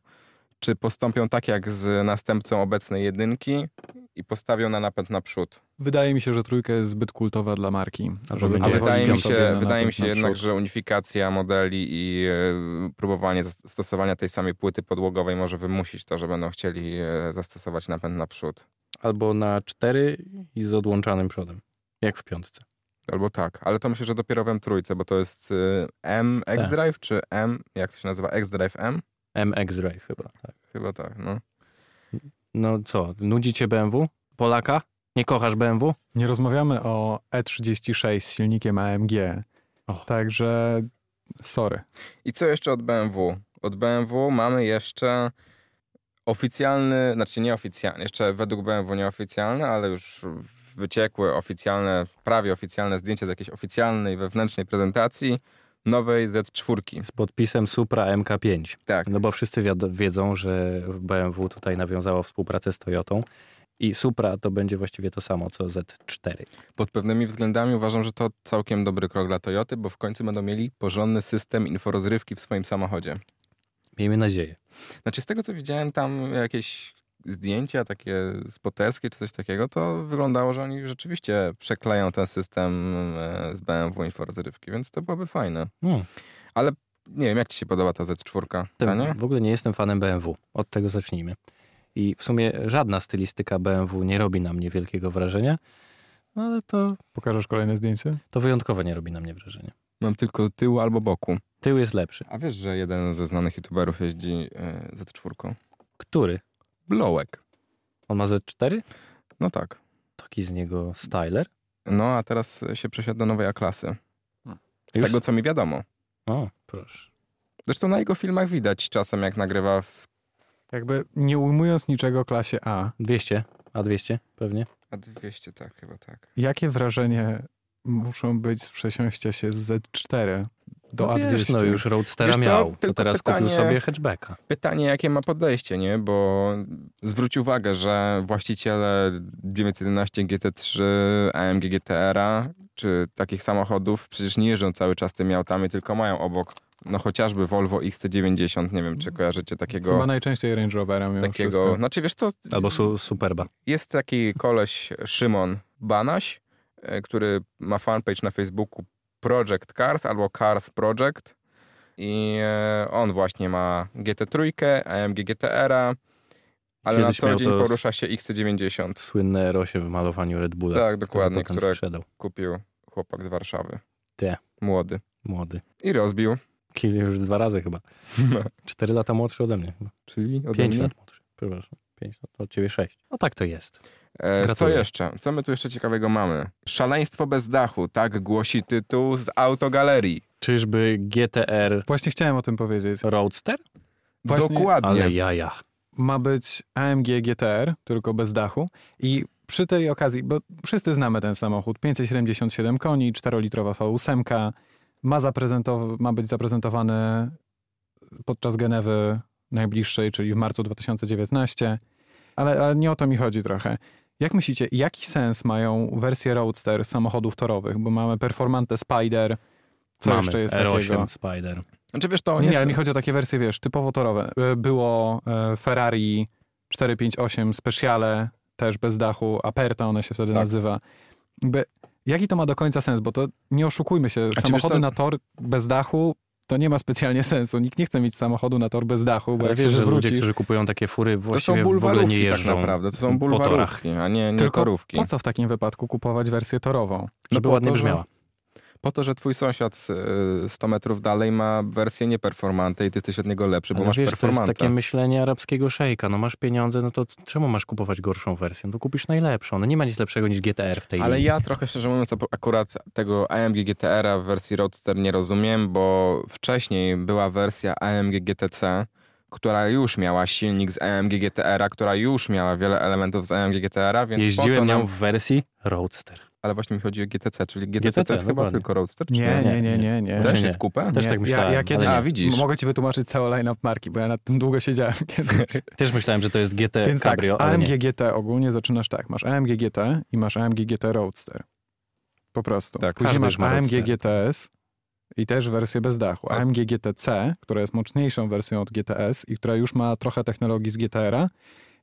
Speaker 3: czy postąpią tak jak z następcą obecnej jedynki i postawią na napęd na przód.
Speaker 1: Wydaje mi się, że trójka jest zbyt kultowa dla marki. żeby
Speaker 2: będzie
Speaker 3: A
Speaker 2: Gdzie
Speaker 3: wydaje mi
Speaker 2: jest
Speaker 1: pozwolić
Speaker 3: się,
Speaker 1: na
Speaker 3: wydaje mi
Speaker 1: napęd
Speaker 3: się
Speaker 1: na
Speaker 3: jednak,
Speaker 1: przód.
Speaker 3: że unifikacja modeli i e, próbowanie zas- stosowania tej samej płyty podłogowej może wymusić to, że będą chcieli e, zastosować napęd naprzód.
Speaker 2: Albo na 4 i z odłączanym przodem. Jak w piątce.
Speaker 3: Albo tak, ale to myślę, że dopiero w M3, bo to jest e, M X-Drive czy M, jak to się nazywa, X-Drive M?
Speaker 2: MX Drive chyba. Tak.
Speaker 3: Chyba tak, no.
Speaker 2: No co, nudzi cię BMW? Polaka? Nie kochasz BMW?
Speaker 1: Nie rozmawiamy o E36 z silnikiem AMG.
Speaker 2: Och.
Speaker 1: Także sorry.
Speaker 3: I co jeszcze od BMW? Od BMW mamy jeszcze oficjalny, znaczy nieoficjalny, jeszcze według BMW nieoficjalny, ale już wyciekły oficjalne, prawie oficjalne zdjęcie z jakiejś oficjalnej wewnętrznej prezentacji nowej Z4.
Speaker 2: Z podpisem Supra MK5.
Speaker 3: Tak,
Speaker 2: No bo wszyscy wiad- wiedzą, że BMW tutaj nawiązało współpracę z Toyotą i Supra to będzie właściwie to samo co Z4.
Speaker 3: pod pewnymi względami uważam, że to całkiem dobry krok dla Toyoty, bo w końcu będą mieli porządny system inforozrywki w swoim samochodzie.
Speaker 2: Miejmy nadzieję.
Speaker 3: Znaczy z tego, co widziałem tam jakieś zdjęcia takie spoterskie czy coś takiego, to wyglądało, że oni rzeczywiście przekleją ten system e, z BMW inforozrywki, więc to byłoby fajne.
Speaker 2: No,
Speaker 3: Nie wiem, jak ci się podoba ta Z4? Tanie?
Speaker 2: w ogóle nie jestem fanem BMW. Od tego zacznijmy. I w sumie żadna stylistyka BMW nie robi na mnie wielkiego wrażenia, no ale to,
Speaker 1: Pokażesz kolejne zdjęcie?
Speaker 2: to wyjątkowo nie robi na mnie wrażenia.
Speaker 3: Mam tylko tył albo boku.
Speaker 2: Tył jest lepszy.
Speaker 3: A wiesz, że jeden ze znanych youtuberów jeździ e, Z4?
Speaker 2: Który?
Speaker 3: Blołek.
Speaker 2: On ma Z4?
Speaker 3: No tak.
Speaker 2: Taki z niego styler.
Speaker 3: No a teraz się przesiadł do nowej A-klasy. Z
Speaker 2: Już?
Speaker 3: tego, co mi wiadomo.
Speaker 2: O, proszę.
Speaker 3: Zresztą na jego filmach widać czasem, jak nagrywa w
Speaker 1: Jakby nie ujmując niczego klasie A,
Speaker 2: 200, a 200 pewnie.
Speaker 3: A200, tak, chyba tak.
Speaker 1: jakie wrażenie muszą być z przesiąścia się z Z4 do
Speaker 2: no
Speaker 1: A200?
Speaker 2: Wiesz, no już Roadstera
Speaker 3: Wiesz co,
Speaker 2: miał, to
Speaker 3: tylko
Speaker 2: teraz
Speaker 3: pytanie-
Speaker 2: kupił sobie hatchbacka.
Speaker 3: Pytanie, jakie ma podejście, nie? Bo zwróć uwagę, że właściciele 911 GT3, AMG GTR-a czy takich samochodów przecież nie jeżdżą cały czas tymi autami, tylko mają obok, no chociażby Volvo XC90, nie wiem, czy kojarzycie
Speaker 1: Chyba
Speaker 3: takiego...
Speaker 1: najczęściej Range Rovera mimo
Speaker 3: Takiego,
Speaker 1: wszystko. No,
Speaker 3: znaczy wiesz co,
Speaker 2: Albo su Superba.
Speaker 3: jest taki koleś Szymon Banaś, e, który ma fanpage na Facebooku Project Cars albo Cars Project i e, on właśnie ma GT3, AMG GTR-a, ale
Speaker 2: Kiedyś
Speaker 3: na co
Speaker 2: miał
Speaker 3: dzień
Speaker 2: to z-
Speaker 3: porusza się XC90.
Speaker 2: Słynne Rosie w malowaniu Red Bulla.
Speaker 3: Tak, dokładnie,
Speaker 2: który potem
Speaker 3: które
Speaker 2: sprzedał.
Speaker 3: kupił chłopak z Warszawy.
Speaker 2: Te.
Speaker 3: Młody.
Speaker 2: Młody.
Speaker 3: I rozbił.
Speaker 2: Kil już dwa razy chyba. Cztery lata młodszy ode mnie.
Speaker 3: Czyli No. ode
Speaker 2: Pięć
Speaker 3: mnie.
Speaker 2: lat młodszy. Przepraszam. Pięć lat. Od ciebie sześć. No tak to jest.
Speaker 3: E, Co
Speaker 2: Gratuluję.
Speaker 3: jeszcze? Co my tu jeszcze ciekawego mamy? Szaleństwo bez dachu, tak głosi tytuł z autogalerii.
Speaker 2: Czyżby GTR
Speaker 1: Właśnie chciałem o tym powiedzieć.
Speaker 2: Roadster?
Speaker 1: Właśnie-
Speaker 3: Dokładnie.
Speaker 2: Ale jaja.
Speaker 1: ma być AMG GTR, tylko bez dachu. I przy tej okazji, bo wszyscy znamy ten samochód, 577 koni, 4-litrowa V8, ma, zaprezentow- ma być zaprezentowany podczas Genewy najbliższej, czyli w marcu 2019. Ale, ale nie o to mi chodzi trochę. Jak myślicie, jaki sens mają wersje Roadster samochodów torowych? Bo mamy Performante Spider, co
Speaker 2: Mamy
Speaker 1: jeszcze jest
Speaker 2: R8
Speaker 1: takiego?
Speaker 2: Spider.
Speaker 3: Znaczy wiesz, to
Speaker 1: Nie,
Speaker 3: jest-
Speaker 1: ale mi chodzi o takie wersje, wiesz, typowo torowe. Y, Było e, Ferrari 458 Speciale, też bez dachu, Aperta ona się wtedy
Speaker 3: Tak.
Speaker 1: nazywa. jakby, jaki to ma do końca sens, bo to nie oszukujmy się,
Speaker 3: wiesz
Speaker 1: samochody
Speaker 3: co?
Speaker 1: na tor bez dachu to nie ma specjalnie sensu. Nikt nie chce mieć samochodu na tor bez dachu, bo
Speaker 2: Ale
Speaker 1: jak
Speaker 2: wiesz,
Speaker 1: się
Speaker 2: że ludzie,
Speaker 1: wywróci...
Speaker 2: którzy kupują takie fury,
Speaker 3: To są
Speaker 2: właściwie w ogóle nie
Speaker 3: bulwarówki tak
Speaker 2: jeżdżą.
Speaker 3: naprawdę. To są
Speaker 2: po torach.
Speaker 3: bulwarówki, a nie, nie
Speaker 1: Tylko
Speaker 3: torówki.
Speaker 1: po co w takim wypadku kupować wersję torową?
Speaker 2: Żeby
Speaker 3: No po
Speaker 2: ładnie
Speaker 3: to, że-
Speaker 2: brzmiała.
Speaker 3: Po to, że twój sąsiad y, 100 metrów dalej ma wersję nieperformante i ty jesteś od niego lepszy, bo
Speaker 2: Ale
Speaker 3: masz
Speaker 2: wiesz, to jest
Speaker 3: performantę.
Speaker 2: takie myślenie arabskiego szejka. No masz pieniądze, no to t- czemu masz kupować gorszą wersję? No to kupisz najlepszą. No nie ma nic lepszego niż GTR w tej
Speaker 3: Ale
Speaker 2: linii.
Speaker 3: ja trochę szczerze mówiąc ap- akurat tego AMG GTR-a w wersji Roadster nie rozumiem, bo wcześniej była wersja AMG GTC, która już miała silnik z AMG GTR-a, która już miała wiele elementów z AMG GTR-a, więc po co
Speaker 2: Jeździłem nią
Speaker 3: nam...
Speaker 2: w wersji Roadster.
Speaker 3: Ale właśnie mi chodzi o GTC, czyli GTC, to
Speaker 2: GTC,
Speaker 3: jest chyba
Speaker 2: dokładnie.
Speaker 3: tylko Roadster, czy
Speaker 1: Nie, nie, nie,
Speaker 2: nie,
Speaker 1: nie.
Speaker 2: nie,
Speaker 1: nie.
Speaker 3: Też
Speaker 2: nie.
Speaker 3: jest kupę?
Speaker 2: Też tak myślałem,
Speaker 1: Ja, ja
Speaker 2: ale
Speaker 1: kiedyś
Speaker 2: nie.
Speaker 3: A, widzisz.
Speaker 1: mogę ci wytłumaczyć cały line-up marki, bo ja nad tym długo siedziałem kiedyś.
Speaker 2: Też myślałem, że to jest GT
Speaker 1: Więc tak,
Speaker 2: Cabrio,
Speaker 1: z
Speaker 2: ale
Speaker 1: AMG
Speaker 2: nie.
Speaker 1: GT ogólnie zaczynasz tak. Masz AMG GT i masz AMG GT Roadster. Po prostu.
Speaker 3: Tak,
Speaker 1: Później
Speaker 2: każdy
Speaker 1: masz
Speaker 2: już ma
Speaker 1: AMG
Speaker 2: Roadster.
Speaker 1: GTS i też wersję bez dachu.
Speaker 3: A-
Speaker 1: AMG GTC, która jest mocniejszą wersją od GTS i która już ma trochę technologii z GTR-a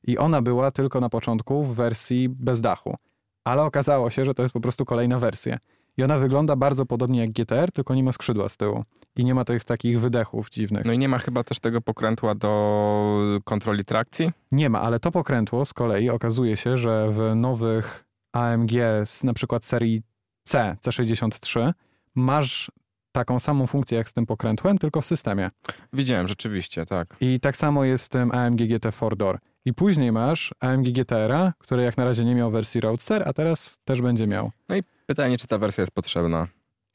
Speaker 1: i ona była tylko na początku w wersji bez dachu. Ale okazało się, że to jest po prostu kolejna wersja. I ona wygląda bardzo podobnie jak GTR, tylko nie ma skrzydła z tyłu. I nie ma tych takich wydechów dziwnych.
Speaker 3: No i nie ma chyba też tego pokrętła do kontroli trakcji?
Speaker 1: Nie ma, ale to pokrętło z kolei okazuje się, że w nowych AMG z na przykład serii C, C63 masz taką samą funkcję jak z tym pokrętłem, tylko w systemie.
Speaker 3: Widziałem, rzeczywiście, tak.
Speaker 1: I tak samo jest z tym AMG GT 4-Door. I później masz AMG GTR, który jak na razie nie miał wersji Roadster, a teraz też będzie miał.
Speaker 3: Pytanie, czy ta wersja jest potrzebna?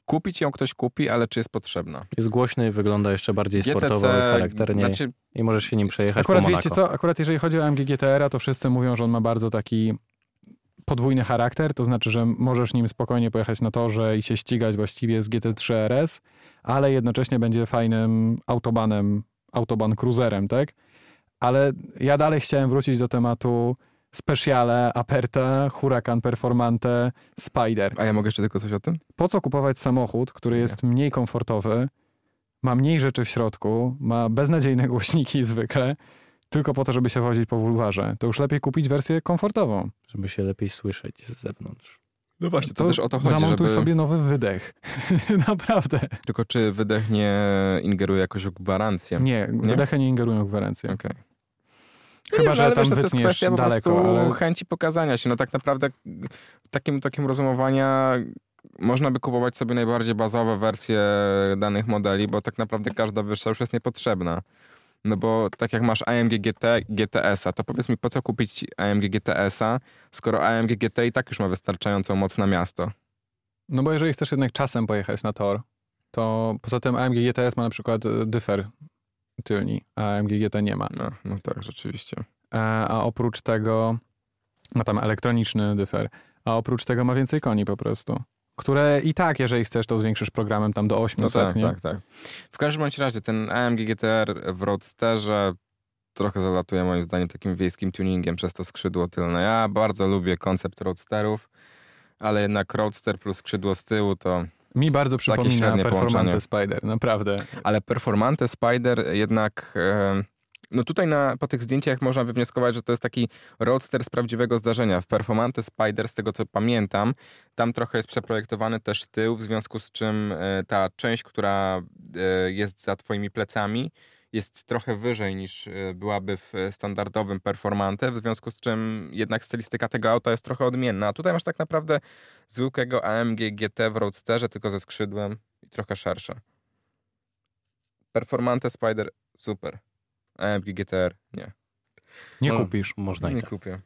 Speaker 3: Kupić ją ktoś kupi, ale czy jest potrzebna?
Speaker 2: Jest głośny, wygląda jeszcze bardziej sportowo, charakternie
Speaker 3: znaczy,
Speaker 2: i możesz się nim przejechać
Speaker 1: Akurat
Speaker 2: po
Speaker 1: wiecie
Speaker 2: Monako.
Speaker 1: co, akurat jeżeli chodzi o AMG GTR, to wszyscy mówią, że on ma bardzo taki podwójny charakter, to znaczy, że możesz nim spokojnie pojechać na torze i się ścigać właściwie z GT3 RS, ale jednocześnie będzie fajnym autobanem, autoban cruiserem, tak? Ale ja dalej chciałem wrócić do tematu Speciale, Aperta, Huracan Performante, Spider
Speaker 3: a ja mogę jeszcze tylko coś o tym?
Speaker 1: po co kupować samochód, który jest mniej komfortowy, ma mniej rzeczy w środku, ma beznadziejne głośniki zwykle, tylko po to, żeby się wozić po bulwarze. To już lepiej kupić wersję komfortową.
Speaker 2: Żeby się lepiej słyszeć z zewnątrz.
Speaker 3: No właśnie, to, też o to chodzi,
Speaker 1: Zamontuj
Speaker 3: żeby...
Speaker 1: sobie nowy wydech. Naprawdę.
Speaker 3: Tylko czy wydech nie ingeruje jakoś w gwarancję?
Speaker 1: Nie, wydechy nie ingerują w gwarancję.
Speaker 3: Okej.
Speaker 1: Chyba,
Speaker 3: Nie,
Speaker 1: że
Speaker 3: ale
Speaker 1: tam
Speaker 3: wiesz, no, to
Speaker 1: wytniesz
Speaker 3: jest kwestia po
Speaker 1: daleko,
Speaker 3: prostu
Speaker 1: ale-
Speaker 3: chęci pokazania się. No tak naprawdę takim tokiem rozumowania można by kupować sobie najbardziej bazowe wersje danych modeli, bo tak naprawdę każda wyższa już jest niepotrzebna. No bo tak jak masz AMG GT, GTS-a, to powiedz mi, po co kupić AMG GTS-a, skoro AMG GT i tak już ma wystarczającą moc na miasto.
Speaker 1: No bo jeżeli chcesz jednak czasem pojechać na tor, to poza tym AMG GTS ma na przykład e, dyfer tylni, a AMG GT nie ma.
Speaker 3: No, no tak, rzeczywiście.
Speaker 1: E, a oprócz tego ma tam elektroniczny dyfer, a oprócz tego ma więcej koni po prostu, które i tak, jeżeli chcesz, to zwiększysz programem tam do 800,
Speaker 3: tak,
Speaker 1: nie?
Speaker 3: tak, tak. W każdym bądź razie ten AMG GTR w Roadsterze trochę zalatuje moim zdaniem takim wiejskim tuningiem przez to skrzydło tylne. Ja bardzo lubię koncept Roadsterów, ale jednak Roadster plus skrzydło z tyłu to...
Speaker 1: Mi bardzo przypomina
Speaker 3: średnie
Speaker 1: performante
Speaker 3: połączenie.
Speaker 1: Spider, naprawdę.
Speaker 3: Ale Performante Spider jednak... e, No tutaj na, po tych zdjęciach można wywnioskować, że to jest taki roadster z prawdziwego zdarzenia. W Performante Spider, z tego co pamiętam, tam trochę jest przeprojektowany też tył, w związku z czym e, ta część, która e, jest za twoimi plecami, jest trochę wyżej niż e, byłaby w e, standardowym performante, w związku z czym jednak stylistyka tego auta jest trochę odmienna. A tutaj masz tak naprawdę zwykłego AMG GT w roadsterze, tylko ze skrzydłem i trochę szersze. Performante Spider super. AMG GTR nie.
Speaker 1: Nie
Speaker 2: No,
Speaker 1: kupisz.
Speaker 2: Można i
Speaker 3: nie
Speaker 2: tak.
Speaker 3: kupię.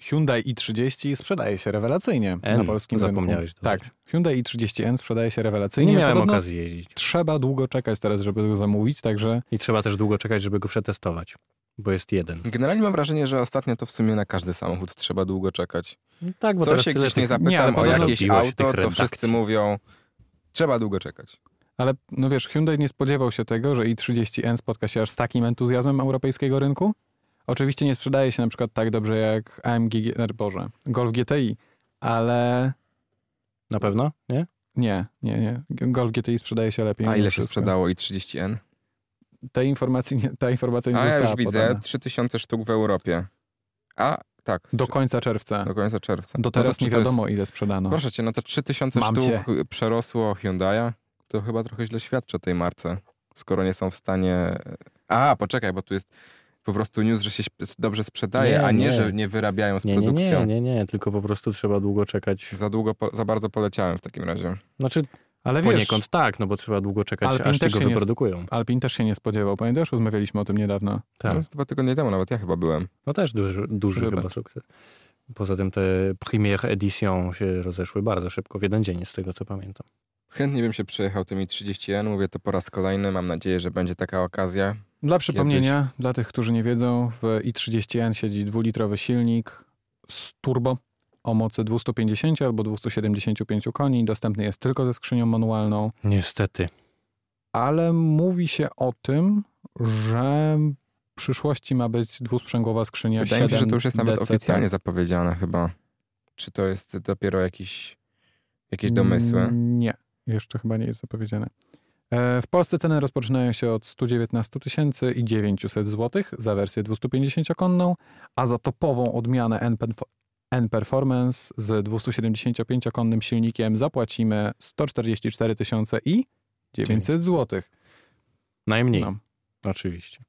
Speaker 1: Hyundai i30 sprzedaje się rewelacyjnie
Speaker 2: N,
Speaker 1: na polskim
Speaker 2: zapomniałeś
Speaker 1: rynku. Tak,
Speaker 2: dodać.
Speaker 1: Hyundai i30N sprzedaje się
Speaker 2: Nie,
Speaker 1: rewelacyjnie.
Speaker 2: miałem
Speaker 1: Podobno
Speaker 2: okazji jeździć.
Speaker 1: Trzeba długo czekać teraz, żeby go zamówić, także
Speaker 2: I trzeba też długo czekać, żeby go przetestować. Bo jest jeden.
Speaker 3: Generalnie mam wrażenie, że ostatnio to w sumie na każdy samochód trzeba długo czekać.
Speaker 1: No
Speaker 2: Tak, bo
Speaker 3: Co
Speaker 2: teraz
Speaker 3: się
Speaker 2: tyle
Speaker 3: gdzieś nie
Speaker 2: tych-
Speaker 1: Nie, ale
Speaker 3: zapytam o
Speaker 1: podobno
Speaker 3: jakieś
Speaker 2: biło się
Speaker 3: auto,
Speaker 2: tych
Speaker 3: to wszyscy
Speaker 2: redakcji.
Speaker 3: mówią, trzeba długo czekać.
Speaker 1: Ale no wiesz, Hyundai nie spodziewał się tego, że i30N spotka się aż z takim entuzjazmem europejskiego rynku. Oczywiście nie sprzedaje się na przykład tak dobrze jak AMG, G- znaczy, Boże, Golf GTI, ale
Speaker 2: Na pewno, nie?
Speaker 1: nie, nie, nie. Golf GTI sprzedaje się lepiej.
Speaker 3: A
Speaker 1: mimo
Speaker 3: ile się
Speaker 1: wszystko.
Speaker 3: sprzedało i 30N?
Speaker 1: Tej informacji, nie- ta informacja nie
Speaker 3: A ja
Speaker 1: została
Speaker 3: już widzę,
Speaker 1: podana.
Speaker 3: 3000 sztuk w Europie. A Tak,
Speaker 1: Do
Speaker 3: trzy-
Speaker 1: końca czerwca.
Speaker 3: do końca czerwca.
Speaker 1: Do
Speaker 3: No to
Speaker 1: teraz
Speaker 3: czy
Speaker 1: nie
Speaker 3: to jest-
Speaker 1: wiadomo, ile sprzedano.
Speaker 3: Proszę cię, no to 3000
Speaker 1: Mam
Speaker 3: sztuk przerosło Hyundai'a. To chyba trochę źle świadczy o tej marce, skoro nie są w stanie... e, A, poczekaj, bo tu jest po prostu news, że się sp- dobrze sprzedaje,
Speaker 2: Nie,
Speaker 3: a nie,
Speaker 2: nie.
Speaker 3: że nie wyrabiają z
Speaker 2: Nie, nie,
Speaker 3: produkcją.
Speaker 2: nie, nie, nie, tylko po prostu trzeba długo czekać.
Speaker 3: Za długo, po, za bardzo poleciałem w takim razie.
Speaker 2: Znaczy
Speaker 1: Ale wiesz,
Speaker 2: poniekąd tak, no bo trzeba długo czekać,
Speaker 1: Alpin
Speaker 2: aż
Speaker 1: też
Speaker 2: tego
Speaker 1: się nie-
Speaker 2: wyprodukują.
Speaker 1: Alpin też się nie spodziewał. Pamiętasz? Rozmawialiśmy o tym niedawno.
Speaker 2: Tak.
Speaker 3: No, z dwa tygodnie temu nawet ja chyba byłem.
Speaker 2: No też duży, duży
Speaker 1: Chyba.
Speaker 2: chyba sukces. Poza tym te premiere edition się rozeszły bardzo szybko, w jeden dzień z tego co pamiętam.
Speaker 3: Chętnie bym się przejechał tymi 30 jen, mówię to po raz kolejny, mam nadzieję, że będzie taka okazja.
Speaker 1: Dla przypomnienia, dla tych, którzy nie wiedzą, w i30N siedzi dwulitrowy silnik z turbo o mocy 250 albo 275 koni. Dostępny jest tylko ze skrzynią manualną,
Speaker 2: Niestety.
Speaker 1: ale mówi się o tym, że w przyszłości ma być dwusprzęgłowa skrzynia
Speaker 3: Wydaje mi się, że to już jest nawet
Speaker 1: 7DCC.
Speaker 3: oficjalnie zapowiedziane chyba. Czy to jest dopiero jakiś, jakieś domysły?
Speaker 1: Mm, Nie, jeszcze chyba nie jest zapowiedziane. E, W Polsce ceny rozpoczynają się od 119 tysięcy i 900 zł za wersję 250-konną, a za topową odmianę N-Penfo- N-Performance z 275-konnym silnikiem zapłacimy 144 tysiące i 900 zł.
Speaker 2: Najmniej,
Speaker 1: No.
Speaker 2: oczywiście.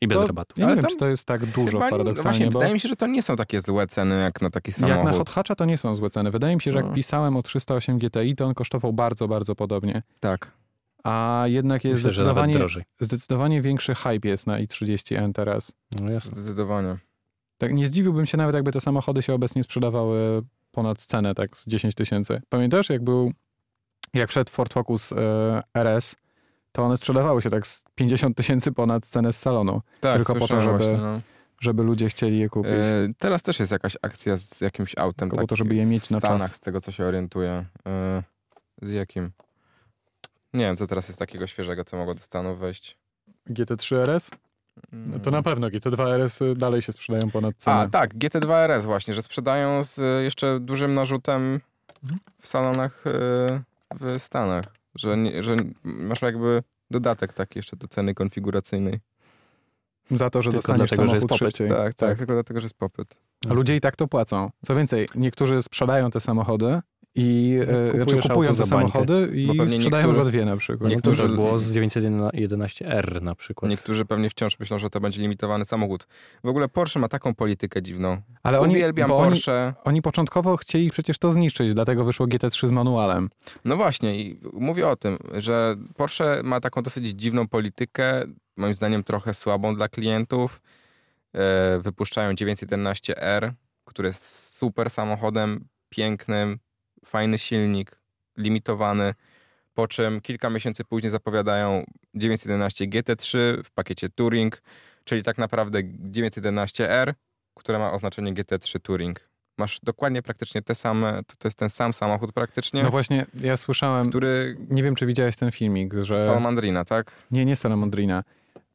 Speaker 2: I bez
Speaker 1: To-
Speaker 2: rabatu.
Speaker 1: Ja nie
Speaker 3: Ale
Speaker 1: wiem,
Speaker 3: tam
Speaker 1: czy to jest tak dużo
Speaker 3: Chyba nie-
Speaker 1: paradoksalnie,
Speaker 3: Właśnie,
Speaker 1: bo
Speaker 3: wydaje mi się, że to nie są takie złe ceny jak na taki samochód.
Speaker 1: jak na hot hatcha to nie są złe ceny. Wydaje mi się, że jak
Speaker 3: No.
Speaker 1: pisałem o 308 GTI, to on kosztował bardzo, bardzo podobnie.
Speaker 3: Tak.
Speaker 1: A jednak jest
Speaker 2: Myślę, że nawet
Speaker 1: zdecydowanie
Speaker 2: drożej.
Speaker 1: zdecydowanie większy hype jest na i30N teraz.
Speaker 2: No jasne.
Speaker 3: Zdecydowanie.
Speaker 1: Tak, nie zdziwiłbym się nawet, jakby te samochody się obecnie sprzedawały ponad cenę, tak z 10 tysięcy. Pamiętasz, jak był, jak wszedł Ford Focus e, RS, to one sprzedawały się tak z 50 tysięcy ponad cenę z salonu,
Speaker 3: Tak,
Speaker 1: Tylko po to,
Speaker 3: słyszałem
Speaker 1: żeby
Speaker 3: właśnie, no.
Speaker 1: żeby ludzie chcieli je kupić.
Speaker 3: E, teraz też jest jakaś akcja z jakimś autem.
Speaker 1: Tylko po
Speaker 3: tak,
Speaker 1: to, żeby je mieć
Speaker 3: w
Speaker 1: na
Speaker 3: Stanach,
Speaker 1: czas.
Speaker 3: z tego co się orientuję. E, z jakim? Nie wiem, co teraz jest takiego świeżego, co mogło do Stanów wejść.
Speaker 1: GT3 RS? No to na pewno GT2 RS y dalej się sprzedają ponad cenę.
Speaker 3: mm. A, tak, GT2 RS właśnie, że sprzedają z e, jeszcze dużym narzutem w salonach e, w Stanach. Że, nie, że masz jakby dodatek taki jeszcze do ceny konfiguracyjnej.
Speaker 1: Za to, że
Speaker 2: Tylko
Speaker 1: dostaniesz
Speaker 2: dlatego, że
Speaker 1: samochód
Speaker 2: jest popyt.
Speaker 1: szybciej.
Speaker 3: Tak, tak, tylko dlatego, że jest popyt.
Speaker 2: No.
Speaker 1: A ludzie i tak to płacą. Co więcej, niektórzy sprzedają te samochody i e,
Speaker 2: Kupujesz
Speaker 1: znaczy kupują
Speaker 2: auto
Speaker 1: te
Speaker 2: za bańkę.
Speaker 1: samochody
Speaker 3: Bo
Speaker 1: i
Speaker 3: pewnie
Speaker 1: sprzedają
Speaker 3: niektórzy-
Speaker 1: za dwie na przykład.
Speaker 3: niektórzy-
Speaker 2: Niektórzy... No, to było z 911R na przykład.
Speaker 3: Tak. Niektórzy pewnie wciąż myślą, że to będzie limitowany samochód. W ogóle Porsche ma taką politykę dziwną.
Speaker 1: Ale oni,
Speaker 3: Uwielbiam
Speaker 1: bo oni,
Speaker 3: Porsche.
Speaker 1: oni początkowo chcieli przecież to zniszczyć, dlatego wyszło GT3 z manualem.
Speaker 3: No właśnie, i mówię o tym, że Porsche ma taką dosyć dziwną politykę, moim zdaniem trochę słabą dla klientów. E, Wypuszczają 911R, który jest super samochodem, pięknym, fajny silnik, limitowany. Po czym kilka miesięcy później zapowiadają 911 GT3 w pakiecie Touring, czyli tak naprawdę 911R, które ma oznaczenie GT3 Touring. Masz dokładnie praktycznie te same, to, to jest ten sam samochód praktycznie
Speaker 1: No właśnie, ja słyszałem,
Speaker 3: który
Speaker 1: nie wiem czy widziałeś ten filmik, że...
Speaker 3: Salamandrina, tak?
Speaker 1: Nie, nie Salamandrina.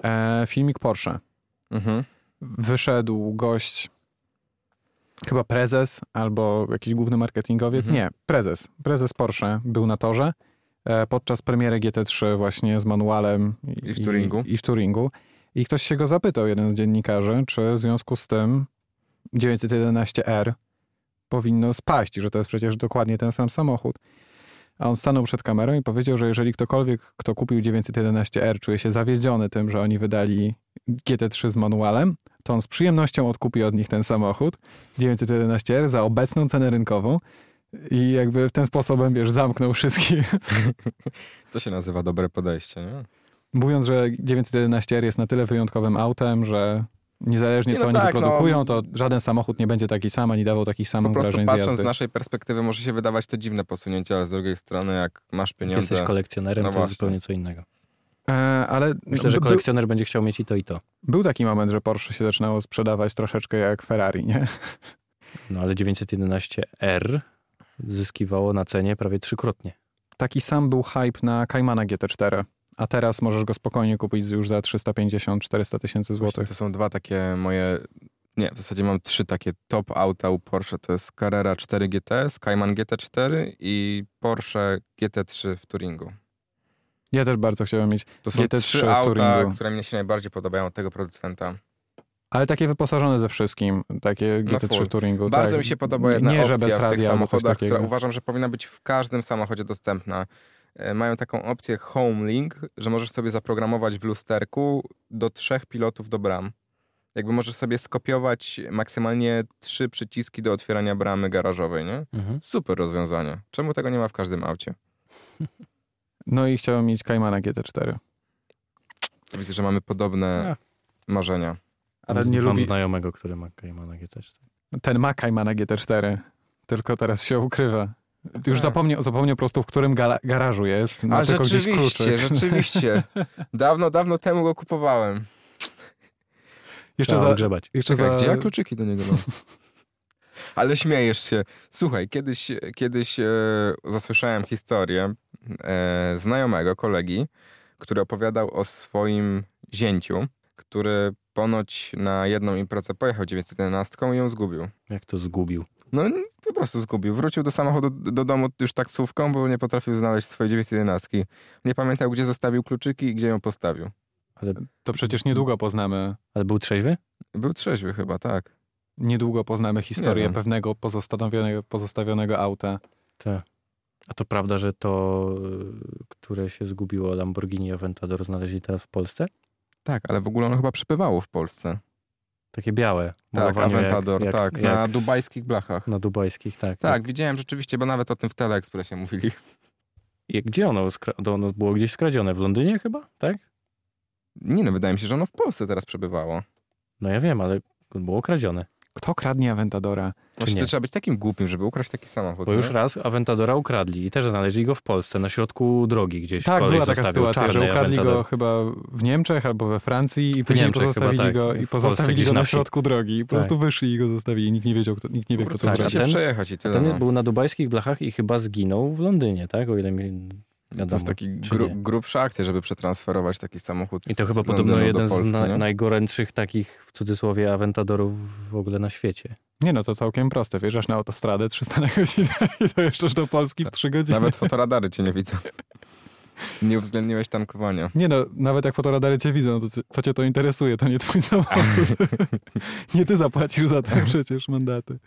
Speaker 1: E, filmik Porsche.
Speaker 3: Mhm.
Speaker 1: Wyszedł gość, chyba prezes albo jakiś główny marketingowiec.
Speaker 3: Mhm.
Speaker 1: Nie, prezes. Prezes Porsche był na torze e, podczas premiery GT3 właśnie z manualem.
Speaker 3: I w Turingu.
Speaker 1: I, w Turingu. I ktoś się go zapytał, jeden z dziennikarzy, czy w związku z tym 911R powinno spaść, że to jest przecież dokładnie ten sam samochód. A on stanął przed kamerą i powiedział, że jeżeli ktokolwiek, kto kupił 911R, czuje się zawiedziony tym, że oni wydali GT3 z manualem, to on z przyjemnością odkupi od nich ten samochód 911R za obecną cenę rynkową i jakby w ten sposobem, wiesz, zamknął wszystkich,
Speaker 3: To się nazywa dobre podejście, nie?
Speaker 1: mówiąc, że 911R jest na tyle wyjątkowym autem, że niezależnie
Speaker 3: Nie,
Speaker 1: co
Speaker 3: no
Speaker 1: oni
Speaker 3: tak,
Speaker 1: wyprodukują,
Speaker 3: no.
Speaker 1: to żaden samochód nie będzie taki sam, ani dawał takich
Speaker 3: Po
Speaker 1: samych
Speaker 3: prostu
Speaker 1: wrażeń z
Speaker 3: patrząc
Speaker 1: jazdy.
Speaker 3: z naszej perspektywy może się wydawać to dziwne posunięcie, ale z drugiej strony jak masz
Speaker 2: Jak jesteś
Speaker 3: pieniądze...
Speaker 2: kolekcjonerem,
Speaker 3: No
Speaker 2: to jest
Speaker 3: właśnie.
Speaker 2: zupełnie co innego.
Speaker 1: E, ale
Speaker 2: Myślę, że
Speaker 1: by, był,
Speaker 2: kolekcjoner będzie chciał mieć i to, i to.
Speaker 1: był taki moment, że Porsche się zaczynało sprzedawać troszeczkę jak Ferrari, nie?
Speaker 2: No ale 911R zyskiwało na cenie prawie trzykrotnie.
Speaker 1: Taki sam był hype na Caymana GT4, a teraz możesz go spokojnie kupić już za 350-400 tysięcy
Speaker 3: Właśnie
Speaker 1: złotych.
Speaker 3: to są dwa takie moje... Nie, w zasadzie mam trzy takie top auta u Porsche. To jest Carrera 4 GTS, Cayman GT4 i Porsche GT3 w Turingu.
Speaker 1: Ja też bardzo chciałem mieć.
Speaker 3: To są
Speaker 1: GT3
Speaker 3: trzy
Speaker 1: w
Speaker 3: auta,
Speaker 1: Turingu.
Speaker 3: które mnie się najbardziej podobają od tego producenta.
Speaker 1: Ale takie wyposażone ze wszystkim, takie
Speaker 3: Na
Speaker 1: GT3
Speaker 3: full.
Speaker 1: Touringu.
Speaker 3: Bardzo
Speaker 1: tak.
Speaker 3: mi się podoba jedna
Speaker 1: Nie, że
Speaker 3: opcja
Speaker 1: bez
Speaker 3: w tych
Speaker 1: radia albo coś
Speaker 3: samochodach,
Speaker 1: takiego.
Speaker 3: która uważam, że powinna być w każdym samochodzie dostępna. E, Mają taką opcję Home Link, że możesz sobie zaprogramować w lusterku do trzech pilotów do bram. Jakby możesz sobie skopiować maksymalnie trzy przyciski do otwierania bramy garażowej, nie?
Speaker 2: Mhm.
Speaker 3: Super rozwiązanie. Czemu tego nie ma w każdym aucie?
Speaker 1: No i chciałem mieć Caymana GT4.
Speaker 3: To Widzę, że mamy podobne
Speaker 2: Tak.
Speaker 3: marzenia.
Speaker 1: Ale
Speaker 2: Mam-
Speaker 1: nie
Speaker 2: Mam
Speaker 1: lubi...
Speaker 2: znajomego, który ma Caymana GT4.
Speaker 1: Ten ma Caymana GT4, tylko teraz się ukrywa. Już
Speaker 3: Tak.
Speaker 1: zapomniał, zapomniał po prostu, w którym gala- garażu jest. Ma
Speaker 3: A
Speaker 1: tylko gdzieś
Speaker 3: rzeczywiście,
Speaker 1: kluczyk.
Speaker 3: rzeczywiście. Dawno, dawno temu go kupowałem.
Speaker 1: Jeszcze
Speaker 2: Trzeba
Speaker 3: Tak.
Speaker 1: za...
Speaker 2: odgrzebać.
Speaker 1: Jeszcze
Speaker 3: Czekaj,
Speaker 1: za...
Speaker 3: gdzie ja kluczyki do niego mam? Ale śmiejesz się. Słuchaj, kiedyś, kiedyś e, zasłyszałem historię e, znajomego, kolegi, który opowiadał o swoim zięciu, który ponoć na jedną imprezę pojechał 911 i ją zgubił.
Speaker 2: Jak to zgubił.
Speaker 3: No n- po prostu zgubił. Wrócił do samochodu, do domu już taksówką, bo nie potrafił znaleźć swojej 911. Nie pamiętał, gdzie zostawił kluczyki i gdzie ją postawił.
Speaker 1: To przecież niedługo poznamy,
Speaker 2: Ale był trzeźwy?
Speaker 3: Był trzeźwy chyba, tak.
Speaker 1: niedługo poznamy
Speaker 3: Nie
Speaker 1: historię
Speaker 3: wiem.
Speaker 1: pewnego pozostawionego, pozostawionego auta.
Speaker 2: Tak. A to prawda, że to, y, które się zgubiło Lamborghini Aventador znaleźli teraz w Polsce?
Speaker 3: Tak, ale w ogóle ono chyba przepywało w Polsce.
Speaker 2: Takie białe.
Speaker 3: Tak,
Speaker 2: malowanie jak-
Speaker 3: Aventador,
Speaker 2: jak-
Speaker 3: tak,
Speaker 2: jak
Speaker 3: na
Speaker 2: z-
Speaker 3: dubajskich blachach.
Speaker 2: Na dubajskich, tak.
Speaker 3: Tak, widziałem rzeczywiście, bo nawet o tym w Teleekspresie mówili.
Speaker 2: Jak, gdzie ono, skra- to ono było gdzieś skradzione? W Londynie chyba, tak?
Speaker 3: Nie no, wydaje mi się, że ono w Polsce teraz przebywało.
Speaker 2: No ja wiem, ale było kradzione.
Speaker 1: Kto kradnie Aventadora?
Speaker 3: Właśnie
Speaker 2: nie?
Speaker 3: Znaczy, to trzeba być takim głupim, żeby ukraść taki samochód.
Speaker 2: Bo już
Speaker 3: nie?
Speaker 2: raz Aventadora ukradli i też znaleźli go w Polsce, na środku drogi gdzieś.
Speaker 1: Tak,
Speaker 2: Koleś
Speaker 1: była taka
Speaker 2: zostawił
Speaker 1: sytuacja, że
Speaker 2: czarny
Speaker 1: ukradli go
Speaker 2: Aventador.
Speaker 1: chyba w Niemczech albo we Francji i później
Speaker 2: Niemczech
Speaker 1: pozostawili
Speaker 2: chyba, tak.
Speaker 1: go
Speaker 2: W
Speaker 1: i
Speaker 2: Polsce
Speaker 1: pozostawili
Speaker 2: gdzieś
Speaker 1: go
Speaker 2: na
Speaker 1: na
Speaker 2: wsi.
Speaker 1: środku drogi. I po
Speaker 2: Tak.
Speaker 1: prostu wyszli i go zostawili. Nikt nie wiedział, kto, nikt nie wie,
Speaker 3: Po
Speaker 1: kto
Speaker 3: prostu
Speaker 1: to zrobił.
Speaker 2: tak,
Speaker 3: trzeba się
Speaker 2: ten-
Speaker 3: przejechać i tyle.
Speaker 2: Ten
Speaker 3: No.
Speaker 2: był na dubajskich blachach i chyba zginął w Londynie, tak? O ile mi
Speaker 3: to
Speaker 2: wiadomo.
Speaker 3: jest taki
Speaker 2: czy
Speaker 3: gru,
Speaker 2: nie.
Speaker 3: grubsza akcja, żeby przetransferować taki samochód.
Speaker 2: I to chyba
Speaker 3: z
Speaker 2: podobno
Speaker 3: Londynu
Speaker 2: jeden
Speaker 3: do Polski,
Speaker 2: z na,
Speaker 3: nie?
Speaker 2: najgorętszych takich, w cudzysłowie, awentadorów w ogóle na świecie.
Speaker 1: Nie no, to całkiem proste. Wjeżdżasz na autostradę 300 na godzinę i dojeżdżasz do Polski w 3 godziny.
Speaker 3: Tak, Nawet fotoradary cię nie widzą. Nie uwzględniłeś tankowania.
Speaker 1: Nie no, nawet jak fotoradary cię widzą, no to c- co cię to interesuje, to nie twój samochód. nie ty zapłacił za to przecież mandaty.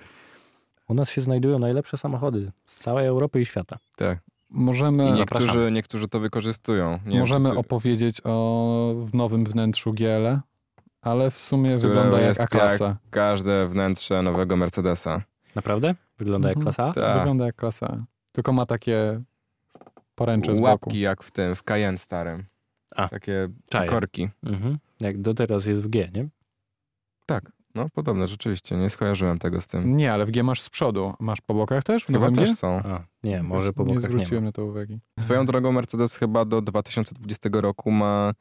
Speaker 2: U nas się znajdują najlepsze samochody z całej Europy i świata.
Speaker 3: Tak. I
Speaker 2: No,
Speaker 1: Możemy,
Speaker 3: niektórzy, niektórzy to wykorzystują. Nie wiem,
Speaker 1: możemy
Speaker 3: czy-
Speaker 1: opowiedzieć o w nowym wnętrzu GL, ale w sumie
Speaker 3: Które
Speaker 1: wygląda jak
Speaker 3: jest
Speaker 1: A-klasa.
Speaker 3: Każde wnętrze nowego Mercedesa.
Speaker 2: Naprawdę? Wygląda jak
Speaker 1: Mhm.
Speaker 2: klasa A?
Speaker 3: Tak.
Speaker 1: Wygląda jak klasa A. Tylko ma takie poręcze z boku.
Speaker 3: Łapki jak w tym, w Cayenne starym.
Speaker 2: A.
Speaker 3: Takie
Speaker 2: Czaję.
Speaker 3: korki.
Speaker 2: Mhm. Jak do teraz jest w G, nie?
Speaker 3: No podobne, rzeczywiście. Nie skojarzyłem tego z tym.
Speaker 1: Nie, ale w G masz z przodu. Masz po bokach też? W
Speaker 3: Chyba
Speaker 1: nowym G?
Speaker 3: też są.
Speaker 2: A, nie, może po
Speaker 1: Nie
Speaker 2: bokach nie,
Speaker 1: zwróciłem
Speaker 2: ma.
Speaker 1: na to uwagi.
Speaker 3: Swoją drogą Mercedes chyba do 2020 roku ma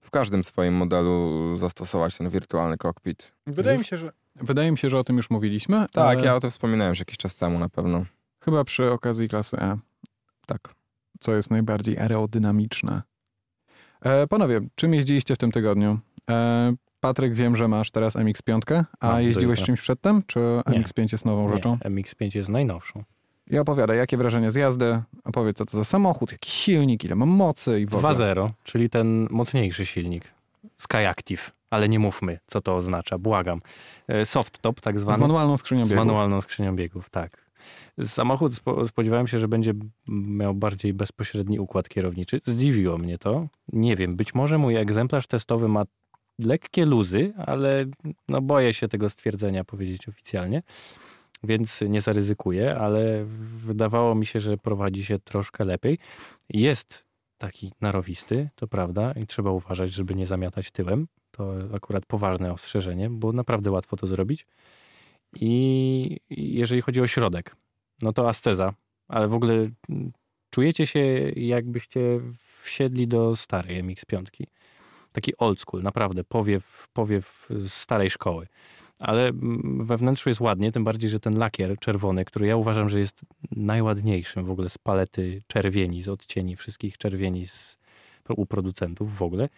Speaker 3: w każdym swoim modelu zastosować ten wirtualny kokpit.
Speaker 1: Wydaje mi się, że... Wydaje mi się, że o tym już mówiliśmy.
Speaker 3: Tak,
Speaker 1: ale
Speaker 3: ja o tym wspominałem już jakiś czas temu na pewno.
Speaker 1: Chyba przy okazji klasy E.
Speaker 3: Tak.
Speaker 1: co jest najbardziej aerodynamiczne. E, panowie, czym jeździliście w tym tygodniu? E, Patryk, wiem, że masz teraz MX-5, a
Speaker 2: Mam,
Speaker 1: jeździłeś
Speaker 2: trójkę.
Speaker 1: czymś przedtem, czy
Speaker 2: Nie.
Speaker 1: MX-5 jest nową rzeczą?
Speaker 2: Nie, MX-5 jest najnowszą.
Speaker 1: I opowiadaj, jakie wrażenie z jazdy, opowiedz, co to za samochód, jaki silnik, ile ma mocy i w ogóle.
Speaker 2: 2.0, czyli ten mocniejszy silnik. Skyactiv, ale nie mówmy, co to oznacza, błagam. E, Soft top tak
Speaker 1: Z
Speaker 2: zwany.
Speaker 1: manualną skrzynią
Speaker 2: Z
Speaker 1: biegów.
Speaker 2: manualną skrzynią biegów, tak. Samochód spo, spodziewałem się, że będzie miał bardziej bezpośredni układ kierowniczy. Zdziwiło mnie to. Nie wiem, być może mój egzemplarz testowy ma lekkie luzy, ale no boję się tego stwierdzenia powiedzieć oficjalnie, więc nie zaryzykuję, ale wydawało mi się, że prowadzi się troszkę lepiej. Jest taki narowisty, to prawda, i trzeba uważać, żeby nie zamiatać tyłem. To akurat poważne ostrzeżenie, bo naprawdę łatwo to zrobić. I jeżeli chodzi o środek, no to asceza, ale w ogóle mm, czujecie się jakbyście wsiedli do starej MX-5. Taki old school, naprawdę, powiew, powiew z starej szkoły. Ale mm, we wnętrzu jest ładnie, tym bardziej, że ten lakier czerwony, który ja uważam, że jest najładniejszym w ogóle z palety czerwieni, z odcieni wszystkich czerwieni z, u producentów w ogóle,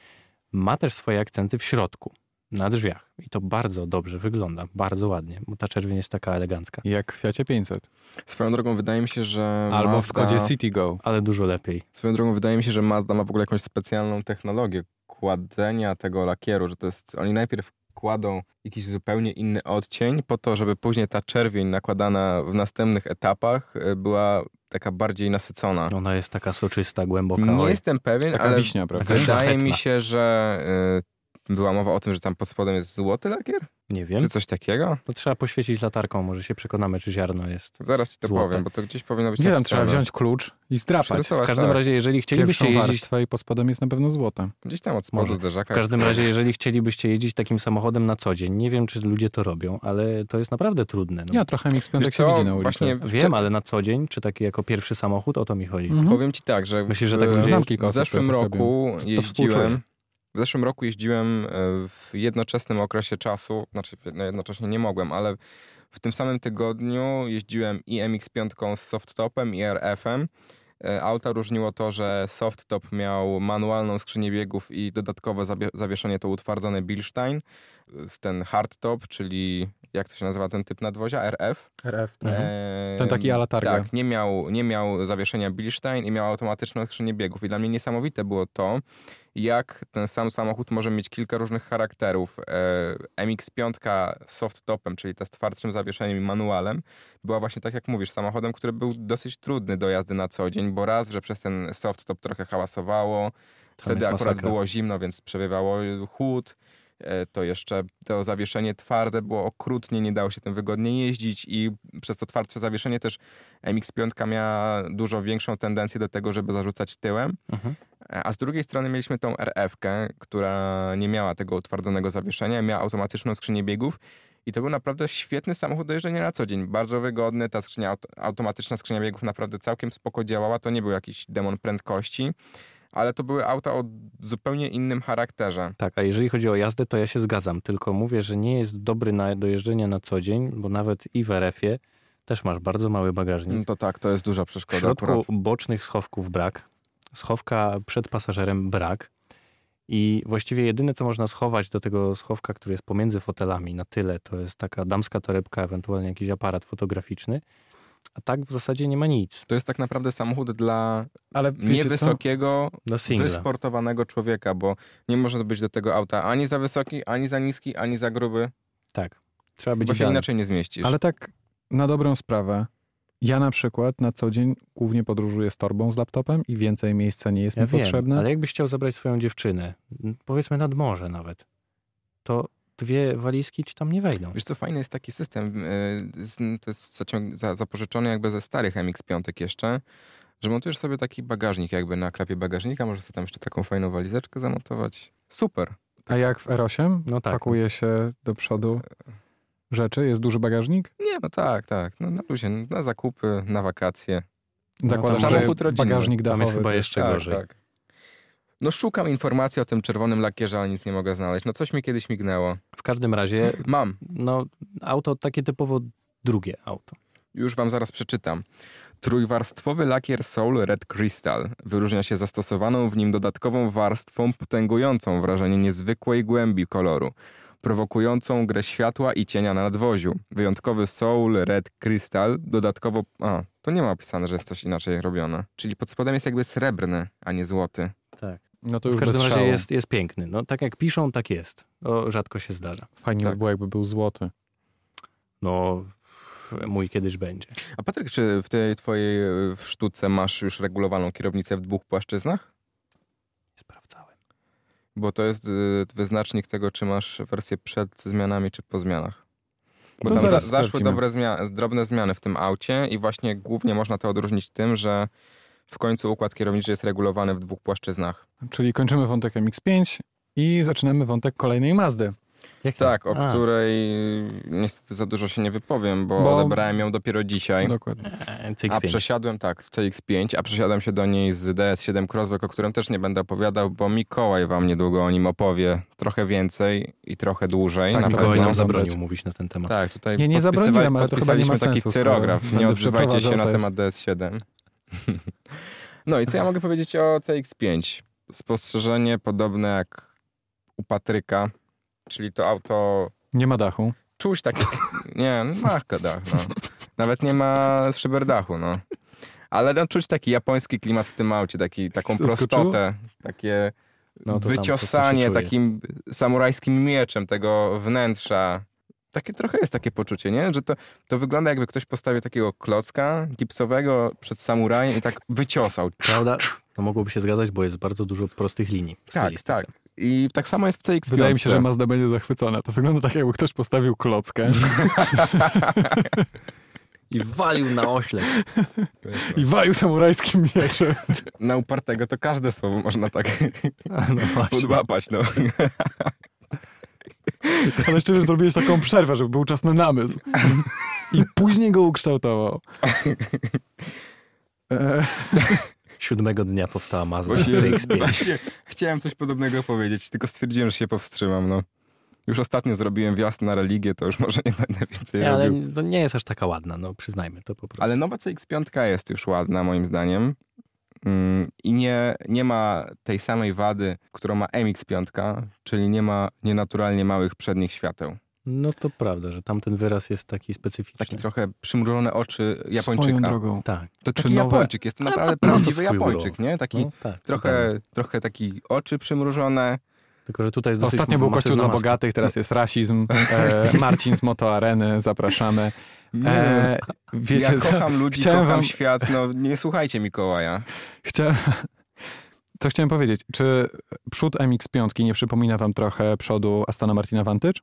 Speaker 2: ma też swoje akcenty w środku na drzwiach. I to bardzo dobrze wygląda, bardzo ładnie, bo ta czerwień jest taka elegancka.
Speaker 1: Jak w Fiacie 500.
Speaker 3: Swoją drogą wydaje mi się, że
Speaker 1: Albo w
Speaker 3: Mazda,
Speaker 1: Skodzie City Go.
Speaker 2: Ale dużo lepiej.
Speaker 3: Swoją drogą wydaje mi się, że Mazda ma w ogóle jakąś specjalną technologię kładenia tego lakieru, że to jest oni najpierw kładą jakiś zupełnie inny odcień po to, żeby później ta czerwień nakładana w następnych etapach y, była taka bardziej nasycona.
Speaker 2: Ona jest taka soczysta, głęboka.
Speaker 3: Nie
Speaker 2: oj.
Speaker 3: jestem pewien,
Speaker 1: Taka
Speaker 3: ale
Speaker 1: wiśnia, prawda?
Speaker 2: Taka-
Speaker 3: wydaje
Speaker 2: szlachetna.
Speaker 3: mi się, że y, była mowa o tym, że tam pod spodem jest złoty lakier,
Speaker 2: Nie wiem.
Speaker 3: czy coś takiego.
Speaker 2: To trzeba poświecić latarką, może się przekonamy, czy ziarno jest.
Speaker 3: Zaraz ci to
Speaker 2: Złote.
Speaker 3: powiem, bo to gdzieś powinno być
Speaker 1: Gdzie tam trzeba
Speaker 3: napisane.
Speaker 1: wziąć klucz i zdrapać?
Speaker 2: W
Speaker 3: Tak, Przerysować,
Speaker 2: każdym
Speaker 3: tak.
Speaker 2: razie, jeżeli chcielibyście
Speaker 1: Pierwszą
Speaker 2: jeździć...
Speaker 1: warstwę i pod spodem jest na pewno złote.
Speaker 3: Gdzieś tam od spodu
Speaker 2: Może.
Speaker 3: zderzaka.
Speaker 2: W każdym razie, jeżeli chcielibyście jeździć takim samochodem na co dzień, nie wiem, czy ludzie to robią, ale to jest naprawdę trudne. No.
Speaker 1: Ja trochę mi
Speaker 3: Wiesz
Speaker 1: jak się
Speaker 3: co,
Speaker 1: widzi na ulicy.
Speaker 3: Właśnie w-
Speaker 2: Wiem, ale na co dzień, czy taki jako pierwszy samochód, o to mi chodzi.
Speaker 1: Mhm.
Speaker 3: Powiem ci tak, że
Speaker 2: Myślisz,
Speaker 3: w,
Speaker 2: że tak ludzie-
Speaker 1: Znam kilka
Speaker 3: w
Speaker 1: osób,
Speaker 3: zeszłym
Speaker 1: które tak
Speaker 3: roku
Speaker 1: współczuję.
Speaker 3: jeździłem. W zeszłym roku jeździłem e, w jednoczesnym okresie czasu, znaczy w- no jednocześnie nie mogłem, ale w tym samym tygodniu jeździłem i MX-5 z softtopem i RF-em. E, Auta różniło to, że softtop miał manualną skrzynię biegów i dodatkowe zabie- zawieszenie to utwardzone Bilstein. e, Z Ten hardtop, czyli jak to się nazywa ten typ nadwozia? RF?
Speaker 1: RF.
Speaker 2: Mhm.
Speaker 3: Eee,
Speaker 1: Ten taki ala targa.
Speaker 3: Tak, nie miał, nie miał zawieszenia Bilstein i miał automatyczną skrzynię biegów. I dla mnie niesamowite było to, jak ten sam samochód może mieć kilka różnych charakterów. Eee, MX-5 soft topem, czyli ta z twardszym zawieszeniem i manualem, była właśnie tak jak mówisz, samochodem, który był dosyć trudny do jazdy na co dzień, bo raz, że przez ten soft top trochę hałasowało,
Speaker 2: Tam
Speaker 3: Wtedy
Speaker 2: jest
Speaker 3: akurat
Speaker 2: masakra.
Speaker 3: było zimno, więc przewiewało chłód. E, To jeszcze to zawieszenie twarde było okrutnie, nie dało się tym wygodnie jeździć i przez to twardsze zawieszenie też MX-5 miała dużo większą tendencję do tego, żeby zarzucać tyłem.
Speaker 2: Mhm.
Speaker 3: E, A z drugiej strony mieliśmy tą RF-kę, która nie miała tego utwardzonego zawieszenia, miała automatyczną skrzynię biegów i to był naprawdę świetny samochód do jeżdżenia na co dzień. Bardzo wygodny, ta skrzynia, aut- automatyczna skrzynia biegów naprawdę całkiem spoko działała, to nie był jakiś demon prędkości ale to były auta o zupełnie innym charakterze.
Speaker 2: Tak, a jeżeli chodzi o jazdę, to ja się zgadzam, tylko mówię, że nie jest dobry na dojeżdżenie na co dzień, bo nawet i w RF-ie też masz bardzo mały bagażnik.
Speaker 3: to tak, to jest duża
Speaker 2: W
Speaker 3: przeszkoda.
Speaker 2: środku bocznych schowków brak, schowka przed pasażerem brak i właściwie jedyne, co można schować do tego schowka, który jest pomiędzy fotelami na tyle, to jest taka damska torebka, ewentualnie jakiś aparat fotograficzny, a tak w zasadzie nie ma nic.
Speaker 3: To jest tak naprawdę samochód dla
Speaker 1: Ale wiecie co?
Speaker 3: niewysokiego,
Speaker 2: Dla singla.
Speaker 3: wysportowanego człowieka, bo nie może być do tego auta ani za wysoki, ani za niski, ani za gruby,
Speaker 2: Tak. Trzeba być
Speaker 3: bo się
Speaker 2: idealny.
Speaker 3: inaczej nie zmieścisz.
Speaker 1: Ale tak na dobrą sprawę. Ja na przykład na co dzień głównie podróżuję z torbą, z laptopem i więcej miejsca nie jest
Speaker 2: Ja
Speaker 1: mi
Speaker 2: wiem,
Speaker 1: potrzebne.
Speaker 2: ale jakbyś chciał zabrać swoją dziewczynę, m, powiedzmy nad morze nawet, to dwie walizki ci tam nie wejdą.
Speaker 3: Wiesz co, fajny jest taki system, y, z- to jest zacią- za- zapożyczony jakby ze starych MX-5 jeszcze, że montujesz sobie taki bagażnik jakby na klapie bagażnika, możesz sobie tam jeszcze taką fajną walizeczkę zamontować. Super.
Speaker 1: A jak w R8
Speaker 2: No tak.
Speaker 1: pakuje się do przodu rzeczy, jest duży bagażnik,
Speaker 3: Nie, no tak, tak. No, na luzie, na zakupy, na wakacje.
Speaker 2: No
Speaker 1: zakładam
Speaker 2: tam
Speaker 1: sobie
Speaker 3: samochód rodzinny.
Speaker 1: bagażnik
Speaker 2: Tam
Speaker 1: dachowy.
Speaker 2: jest chyba jeszcze
Speaker 3: tak,
Speaker 2: gorzej.
Speaker 3: tak. No szukam informacji o tym czerwonym lakierze, ale nic nie mogę znaleźć. No coś mi kiedyś mignęło.
Speaker 2: W każdym razie,
Speaker 3: Mam,
Speaker 2: no, auto takie typowo drugie auto.
Speaker 3: już wam zaraz przeczytam. Trójwarstwowy lakier Soul Red Crystal wyróżnia się zastosowaną w nim dodatkową warstwą potęgującą wrażenie niezwykłej głębi koloru, prowokującą grę światła i cienia na nadwoziu. Wyjątkowy Soul Red Crystal dodatkowo... A, tu nie ma opisane, że jest coś inaczej robione. Czyli pod spodem jest jakby srebrny, a nie złoty.
Speaker 2: Tak.
Speaker 1: No to już
Speaker 2: W każdym
Speaker 1: bez
Speaker 2: razie
Speaker 1: szału.
Speaker 2: jest, jest piękny. No, tak jak piszą, tak jest. To rzadko się zdarza.
Speaker 1: Fajnie
Speaker 3: tak.
Speaker 1: by było, jakby był złoty.
Speaker 2: No, f- mój kiedyś będzie.
Speaker 3: A Patryk, czy w tej twojej e, w sztuce masz już regulowaną kierownicę w dwóch płaszczyznach?
Speaker 2: Sprawdzałem.
Speaker 3: Bo to jest e, wyznacznik tego, czy masz wersję przed zmianami, czy po zmianach. Bo
Speaker 1: To
Speaker 3: tam za,
Speaker 1: zaraz
Speaker 3: zaszły
Speaker 1: sprawdzimy.
Speaker 3: dobre zmia- drobne zmiany w tym aucie i właśnie głównie można to odróżnić tym, że w końcu układ kierowniczy jest regulowany w dwóch płaszczyznach.
Speaker 1: Czyli kończymy wątek MX-5 i zaczynamy wątek kolejnej Mazdy.
Speaker 2: Jakie?
Speaker 3: Tak, o
Speaker 2: A,
Speaker 3: której e, niestety za dużo się nie wypowiem, bo,
Speaker 1: Bo- No,
Speaker 3: odebrałem ją dopiero dzisiaj.
Speaker 1: Dokładnie.
Speaker 2: e,
Speaker 3: A
Speaker 2: CX-5.
Speaker 3: przesiadłem, tak, w CX-5, a przesiadłem się do niej z DS7 Crossback, o którym też nie będę opowiadał, bo Mikołaj wam niedługo o nim opowie trochę więcej i trochę dłużej.
Speaker 1: Tak,
Speaker 3: na
Speaker 2: Mikołaj
Speaker 3: pewno.
Speaker 2: nam zabronił mówić na ten temat.
Speaker 3: Tak, tutaj
Speaker 1: Nie, nie
Speaker 3: podpisywa-
Speaker 1: zabroniłem, ale to chyba nie ma
Speaker 3: podpisaliśmy taki
Speaker 1: sensu, skoro
Speaker 3: cyrograf. Nie
Speaker 1: będę
Speaker 3: odzywajcie się na
Speaker 1: przeprowadzał
Speaker 3: temat DS7. No i co ja mogę powiedzieć o CX-5? Spostrzeżenie podobne jak u Patryka, czyli to auto
Speaker 1: Nie ma dachu.
Speaker 3: czuć
Speaker 2: tak-
Speaker 3: taki... Nie, no, ma chyba dach, no. Nawet nie ma szyberdachu, no. Ale no, czuć taki japoński klimat w tym aucie, taki, taką
Speaker 1: Zaskoczyło?
Speaker 3: prostotę, takie
Speaker 2: No, to tam
Speaker 3: wyciosanie
Speaker 2: to- to się czuje.
Speaker 3: takim samurajskim mieczem tego wnętrza. Takie trochę jest takie poczucie, nie? Że to, to wygląda jakby ktoś postawił takiego klocka gipsowego przed samurajem i tak wyciosał.
Speaker 2: Prawda? To mogłoby się zgadzać, bo jest bardzo dużo prostych linii. w
Speaker 3: Tak,
Speaker 2: stylistyce.
Speaker 3: tak. I tak samo jest w CX-5.
Speaker 1: Wydaje mi się, że Mazda będzie zachwycona. To wygląda tak, jakby ktoś postawił klockę
Speaker 3: No.
Speaker 2: I walił na ośle.
Speaker 1: i walił samurajskim mieczem.
Speaker 3: Na upartego to każde słowo można tak
Speaker 2: No właśnie.
Speaker 3: podłapać, no.
Speaker 1: Ale jeszcze wiesz, zrobiłeś taką przerwę, żeby był czas na namysł. I później go ukształtował. E,
Speaker 2: Siódmego dnia powstała Mazda
Speaker 3: Właśnie-
Speaker 2: CX-5.
Speaker 3: Właśnie chciałem coś podobnego powiedzieć, tylko stwierdziłem, że się powstrzymam, no. Już ostatnio zrobiłem wjazd na religię, to już może nie będę więcej
Speaker 2: Nie, ale
Speaker 3: robił.
Speaker 2: to nie jest aż taka ładna, no przyznajmy to po prostu.
Speaker 3: Ale nowa CX-5 jest już ładna moim zdaniem. Mm, I nie, nie ma tej samej wady, którą ma MX-5, czyli nie ma nienaturalnie małych przednich świateł.
Speaker 2: No to prawda, że tamten wyraz jest taki specyficzny.
Speaker 3: Takie trochę przymrużone oczy
Speaker 1: Swoją
Speaker 3: Japończyka.
Speaker 1: drogą.
Speaker 2: Tak.
Speaker 3: To
Speaker 1: Czy
Speaker 3: taki
Speaker 1: nowe-
Speaker 3: Japończyk, jest to naprawdę
Speaker 2: ma- ma to
Speaker 3: prawdziwy
Speaker 2: swój
Speaker 3: Japończyk,
Speaker 2: urok.
Speaker 3: nie? Taki
Speaker 2: No, tak. totalnie.
Speaker 3: trochę, trochę taki oczy przymrużone.
Speaker 2: Tylko, że tutaj jest dosyć
Speaker 1: Ostatnio był
Speaker 2: masywna
Speaker 1: kościół dla
Speaker 2: maska.
Speaker 1: bogatych, teraz jest rasizm. E, Marcin z Moto Areny, zapraszamy. E, wiecie,
Speaker 3: ja
Speaker 1: co?
Speaker 3: kocham ludzi,
Speaker 1: chciałem
Speaker 3: kocham
Speaker 1: wam-
Speaker 3: świat, no nie słuchajcie Mikołaja.
Speaker 1: Chciałem... Co chciałem powiedzieć? Czy przód MX-5 nie przypomina wam trochę przodu Astana Martina Vantage?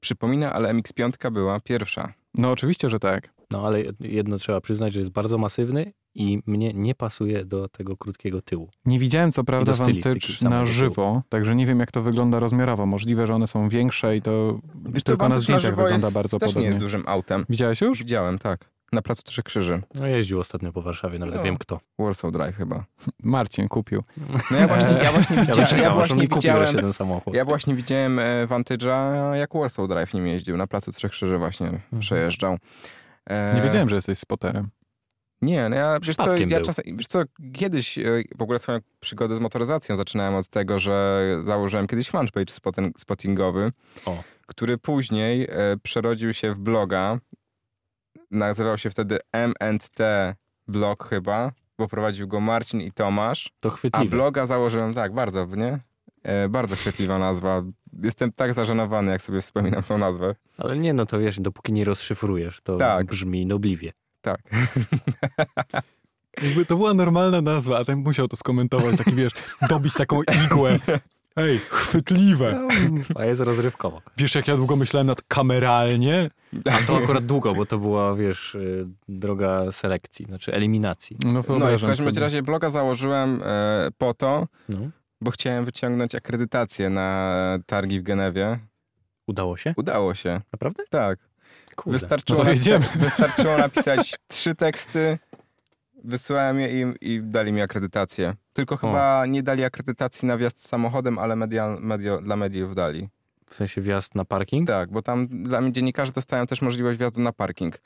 Speaker 3: Przypomina, ale MX-5 była pierwsza.
Speaker 1: No oczywiście, że tak.
Speaker 2: No ale jedno trzeba przyznać, że jest bardzo masywny i mnie nie pasuje do tego krótkiego tyłu.
Speaker 1: Nie widziałem co prawda
Speaker 2: do stylistyki
Speaker 1: Vantage
Speaker 2: samego
Speaker 1: na
Speaker 2: tyłu.
Speaker 1: żywo, także nie wiem jak to wygląda rozmiarowo. Możliwe, że one są większe i to
Speaker 3: Wiesz co,
Speaker 1: tylko na
Speaker 3: Vantage
Speaker 1: zdjęciach
Speaker 3: żywo
Speaker 1: wygląda
Speaker 3: jest,
Speaker 1: bardzo
Speaker 3: też nie
Speaker 1: podobnie.
Speaker 3: jest dużym autem.
Speaker 1: Widziałeś już?
Speaker 3: Widziałem, tak. Na placu Trzech Krzyży.
Speaker 2: No jeździł ostatnio po Warszawie, nawet
Speaker 3: No.
Speaker 2: wiem kto.
Speaker 3: Warsaw Drive chyba. Marcin
Speaker 1: Marcin kupił.
Speaker 3: No ja właśnie,
Speaker 1: Eee.
Speaker 3: ja właśnie
Speaker 2: Ja
Speaker 3: widziałem,
Speaker 2: czekam,
Speaker 3: ja
Speaker 2: aż on
Speaker 3: właśnie
Speaker 2: mi kupi wreszcie
Speaker 3: widziałem,
Speaker 2: ten samochód.
Speaker 3: ja właśnie widziałem e, Vantage'a, jak Warsaw Drive nim jeździł. Na placu Trzech Krzyży właśnie przejeżdżał. E,
Speaker 1: Mhm. Nie wiedziałem, że jesteś spoterem.
Speaker 3: Nie, no ja przecież co,
Speaker 2: Przypadkiem
Speaker 3: ja
Speaker 2: był.
Speaker 3: czasem, wiesz co, kiedyś e, w ogóle swoją przygodę z motoryzacją zaczynałem od tego, że założyłem kiedyś fanpage spoten- spottingowy,
Speaker 2: O.
Speaker 3: który później e, przerodził się w bloga. Nazywał się wtedy M&T Blog chyba, bo prowadził go Marcin i Tomasz.
Speaker 2: To
Speaker 3: A
Speaker 2: chwytliwe.
Speaker 3: bloga założyłem, tak, bardzo, nie? E, bardzo chwytliwa nazwa. Jestem tak zażenowany, jak sobie wspominam tą nazwę.
Speaker 2: Ale nie, no to wiesz, dopóki nie rozszyfrujesz, to
Speaker 3: Tak.
Speaker 2: brzmi nobliwie.
Speaker 3: Tak.
Speaker 1: Jakby to była normalna nazwa, a ten musiał to skomentować, taki wiesz, dobić taką igłę. Ej, chwytliwe.
Speaker 2: A jest rozrywkowo.
Speaker 1: Wiesz, jak ja długo myślałem nad kameralnie?
Speaker 2: A to akurat długo, bo to była, wiesz, y, droga selekcji, znaczy eliminacji.
Speaker 1: No,
Speaker 3: No i w
Speaker 1: wyobrażam
Speaker 3: każdym
Speaker 1: sobie.
Speaker 3: razie bloga założyłem e, po to,
Speaker 2: No.
Speaker 3: bo chciałem wyciągnąć akredytację na targi w Genewie.
Speaker 2: Udało się?
Speaker 3: Udało się,
Speaker 2: Naprawdę?
Speaker 3: tak.
Speaker 2: Kurde.
Speaker 3: Wystarczyło,
Speaker 1: No to jedziemy.
Speaker 3: napisać, wystarczyło napisać trzy teksty, wysłałem je im i dali mi akredytację. Tylko chyba nie dali akredytacji na wjazd samochodem, ale medial, medio, dla mediów dali.
Speaker 2: W sensie wjazd na parking?
Speaker 3: Tak, bo tam dla mnie dziennikarze dostają też możliwość wjazdu na parking.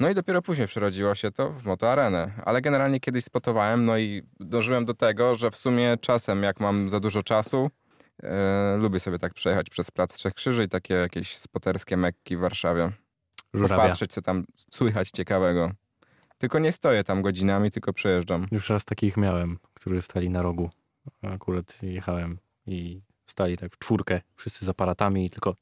Speaker 3: No i dopiero później przerodziło się to w motoarenę. Ale generalnie kiedyś spotowałem, no i dążyłem do tego, że w sumie czasem, jak mam za dużo czasu, e, lubię sobie tak przejechać przez Plac Trzech Krzyży i takie jakieś spoterskie mekki w Warszawie.
Speaker 2: Żurawia.
Speaker 3: Popatrzeć, co tam słychać ciekawego. Tylko nie stoję tam godzinami, tylko przejeżdżam.
Speaker 2: Już raz takich miałem, którzy stali na rogu. Akurat jechałem i stali tak w czwórkę, wszyscy z aparatami i tylko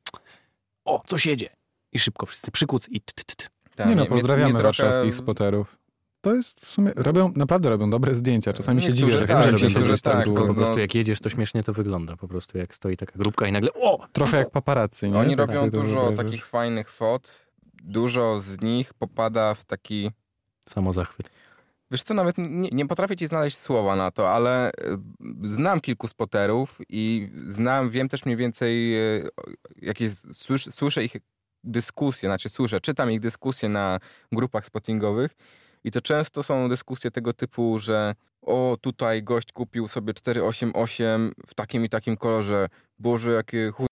Speaker 2: o, coś jedzie. I szybko wszyscy przykuc i t, t, t, t.
Speaker 3: Tam
Speaker 1: nie no,
Speaker 3: tak, mnie- mnie-
Speaker 1: pozdrawiamy
Speaker 3: mnie trochę-
Speaker 1: warszawskich spoterów. To jest w sumie, robią, naprawdę robią dobre zdjęcia. Czasami się
Speaker 3: Niektórzy
Speaker 1: dziwię, że
Speaker 3: tak,
Speaker 1: chcę, żeby
Speaker 3: niektórzy
Speaker 1: siedzieć tak,
Speaker 3: tak,
Speaker 1: tak
Speaker 2: tylko
Speaker 1: długo.
Speaker 2: po
Speaker 3: no.
Speaker 2: prostu jak jedziesz, to śmiesznie to wygląda. Po prostu jak stoi taka grupka i nagle o!
Speaker 1: Trochę jak paparazzi, nie?
Speaker 3: Oni
Speaker 1: Tak
Speaker 3: robią
Speaker 1: sobie to
Speaker 3: dużo
Speaker 1: wyobrażasz.
Speaker 3: takich fajnych fot. Dużo z nich popada w taki
Speaker 2: Samozachwyt.
Speaker 3: Wiesz co, nawet nie, nie potrafię ci znaleźć słowa na to, ale y, znam kilku spoterów i znam, wiem też mniej więcej y, o- jakieś, słysz, słyszę ich dyskusje, znaczy słyszę, czytam ich dyskusje na grupach spottingowych i to często są dyskusje tego typu, że o, tutaj gość kupił sobie 488 w takim i takim kolorze, boże, jakie chuj...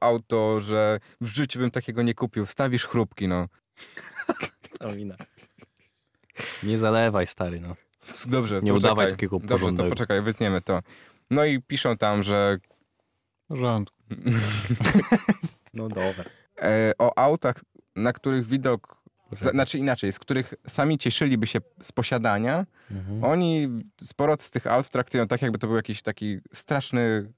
Speaker 3: auto, że w życiu bym takiego nie kupił, wstawisz chrupki, no.
Speaker 2: Ta mina. Nie zalewaj, stary, no.
Speaker 3: Dobrze,
Speaker 2: Nie
Speaker 3: poczekaj.
Speaker 2: udawaj takiego
Speaker 3: Dobrze, to
Speaker 2: porządnego.
Speaker 3: poczekaj, wytniemy to. No i piszą tam, że
Speaker 1: Rząd.
Speaker 2: No dobra.
Speaker 3: e, o autach, na których widok Z, znaczy inaczej, z których sami cieszyliby się z posiadania,
Speaker 2: Mhm.
Speaker 3: oni sporo z tych aut traktują tak, jakby to był jakiś taki straszny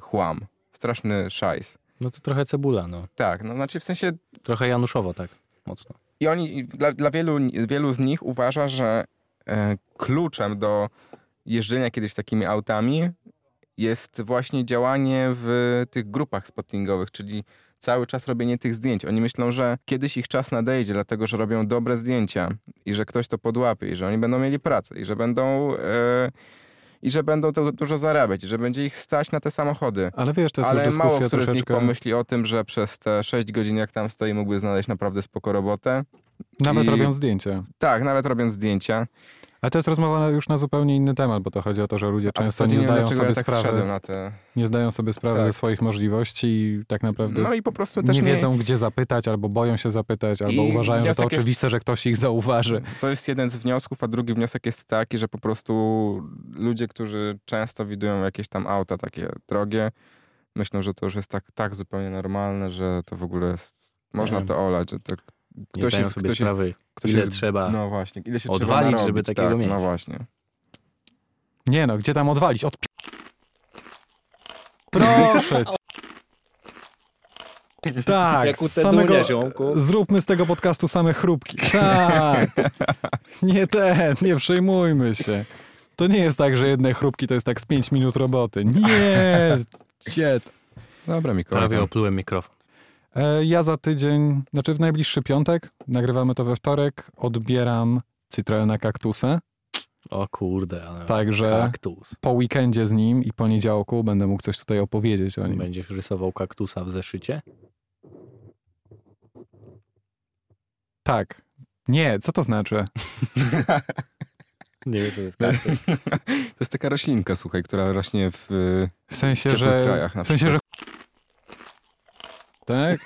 Speaker 3: chłam, straszny szajs.
Speaker 2: No to trochę cebula, no.
Speaker 3: Tak, no znaczy w sensie
Speaker 2: Trochę Januszowo tak, mocno.
Speaker 3: I oni, i dla, dla wielu, wielu z nich uważa, że e, kluczem do jeżdżenia kiedyś takimi autami jest właśnie działanie w tych grupach spottingowych, czyli cały czas robienie tych zdjęć. Oni myślą, że kiedyś ich czas nadejdzie, dlatego że robią dobre zdjęcia i że ktoś to podłapie i że oni będą mieli pracę i że będą... E, i że będą to dużo zarabiać, i że będzie ich stać na te samochody.
Speaker 1: Ale wiesz, to jest
Speaker 3: Ale
Speaker 1: już
Speaker 3: mało
Speaker 1: dyskusja
Speaker 3: który z nich
Speaker 1: troszeczkę...
Speaker 3: pomyśli o tym, że przez te 6 godzin, jak tam stoi, mógłby znaleźć naprawdę spoko robotę.
Speaker 1: Nawet
Speaker 3: i-
Speaker 1: robią zdjęcia.
Speaker 3: Tak, nawet robiąc zdjęcia.
Speaker 1: Ale to jest rozmowa na- już na zupełnie inny temat, bo to chodzi o to, że ludzie często
Speaker 3: Absolutnie
Speaker 1: nie
Speaker 3: wiem,
Speaker 1: zdają
Speaker 3: dlaczego
Speaker 1: sobie
Speaker 3: ja tak
Speaker 1: sprawy,
Speaker 3: zszedłem na te...
Speaker 1: nie zdają sobie sprawy
Speaker 3: Tak.
Speaker 1: ze swoich możliwości i tak naprawdę
Speaker 3: No i po prostu
Speaker 1: nie,
Speaker 3: też nie,
Speaker 1: wiedzą, gdzie zapytać, albo boją się zapytać, albo
Speaker 3: I
Speaker 1: uważają, że to
Speaker 3: wniosek jest-
Speaker 1: oczywiste, że ktoś ich zauważy.
Speaker 3: To jest jeden z wniosków, a drugi wniosek jest taki, że po prostu ludzie, którzy często widują jakieś tam auta takie drogie, myślą, że to już jest tak, tak zupełnie normalne, że to w ogóle jest... Można
Speaker 2: Tak.
Speaker 3: to olać, że to
Speaker 2: Nie
Speaker 3: Ktoś
Speaker 2: zdają
Speaker 3: jest-
Speaker 2: sobie
Speaker 3: ktoś-
Speaker 2: sprawy,
Speaker 3: ktoś
Speaker 2: ile
Speaker 3: jest...
Speaker 2: trzeba.
Speaker 3: No właśnie, ile się trzeba
Speaker 2: odwalić,
Speaker 3: narobić,
Speaker 2: żeby takiego
Speaker 3: tak,
Speaker 2: mieć.
Speaker 3: No właśnie.
Speaker 1: Nie no, gdzie tam odwalić? Od... Proszę cię. Tak,
Speaker 4: Jak u
Speaker 1: z samego...
Speaker 4: Tedunia, ziomku.
Speaker 1: zróbmy z tego podcastu same chrupki. Tak. Nie ten, nie przejmujmy się. To nie jest tak, że jedne chrupki to jest tak z 5 minut roboty. Nie, ciet.
Speaker 3: Dobra, Mikołaj.
Speaker 2: Prawie oplułem mikrofon.
Speaker 1: E, Ja za tydzień, znaczy w najbliższy piątek, nagrywamy to we wtorek, odbieram Citroena kaktusę,
Speaker 2: O kurde, ale
Speaker 1: także
Speaker 2: kaktus.
Speaker 1: po weekendzie z nim i poniedziałku będę mógł coś tutaj opowiedzieć o nim.
Speaker 2: Będziesz rysował kaktusa w zeszycie?
Speaker 1: Tak. Nie, co to znaczy?
Speaker 2: Nie wiem, co to jest
Speaker 3: To jest taka roślinka, słuchaj, która rośnie w...
Speaker 1: W sensie,
Speaker 3: ciepłych
Speaker 1: że...
Speaker 3: krajach na
Speaker 1: W sensie, że... Tak?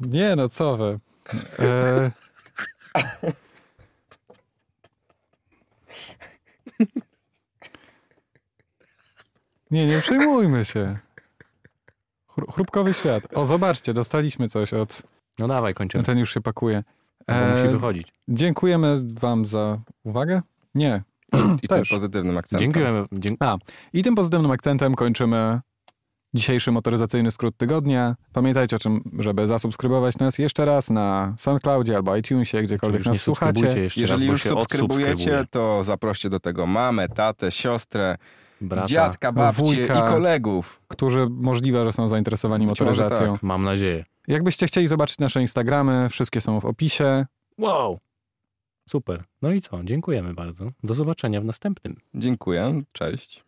Speaker 1: Nie no, co wy. E, Nie, nie przejmujmy się. Chru- Chrupkowy świat. O, zobaczcie, dostaliśmy coś od...
Speaker 2: No dawaj, kończymy,
Speaker 1: Ten już się pakuje.
Speaker 2: bo musi
Speaker 1: E,
Speaker 2: wychodzić.
Speaker 1: dziękujemy wam za uwagę. Nie.
Speaker 3: I tym
Speaker 1: Też.
Speaker 3: pozytywnym akcentem.
Speaker 2: Dziękujemy. Dzięk...
Speaker 1: I tym pozytywnym akcentem kończymy dzisiejszy motoryzacyjny skrót tygodnia. Pamiętajcie o tym, żeby zasubskrybować nas jeszcze raz na SoundCloudzie albo iTunesie, gdziekolwiek
Speaker 2: Już nie
Speaker 1: nas
Speaker 2: subskrybujcie
Speaker 1: słuchacie.
Speaker 2: jeszcze
Speaker 3: Jeżeli
Speaker 2: raz, bo
Speaker 3: już
Speaker 2: się
Speaker 3: subskrybujecie,
Speaker 2: odsubskrybuje.
Speaker 3: to zaproście do tego mamę, tatę, siostrę,
Speaker 2: Brata,
Speaker 3: dziadka, babcię
Speaker 1: wujka.
Speaker 3: i kolegów.
Speaker 1: Którzy możliwe, że są zainteresowani
Speaker 3: Być może tak.
Speaker 1: motoryzacją.
Speaker 2: mam nadzieję.
Speaker 1: Jakbyście chcieli zobaczyć nasze Instagramy, wszystkie są w opisie.
Speaker 2: Wow! Super. No i co? Dziękujemy bardzo. Do zobaczenia w następnym.
Speaker 3: Dziękuję, cześć.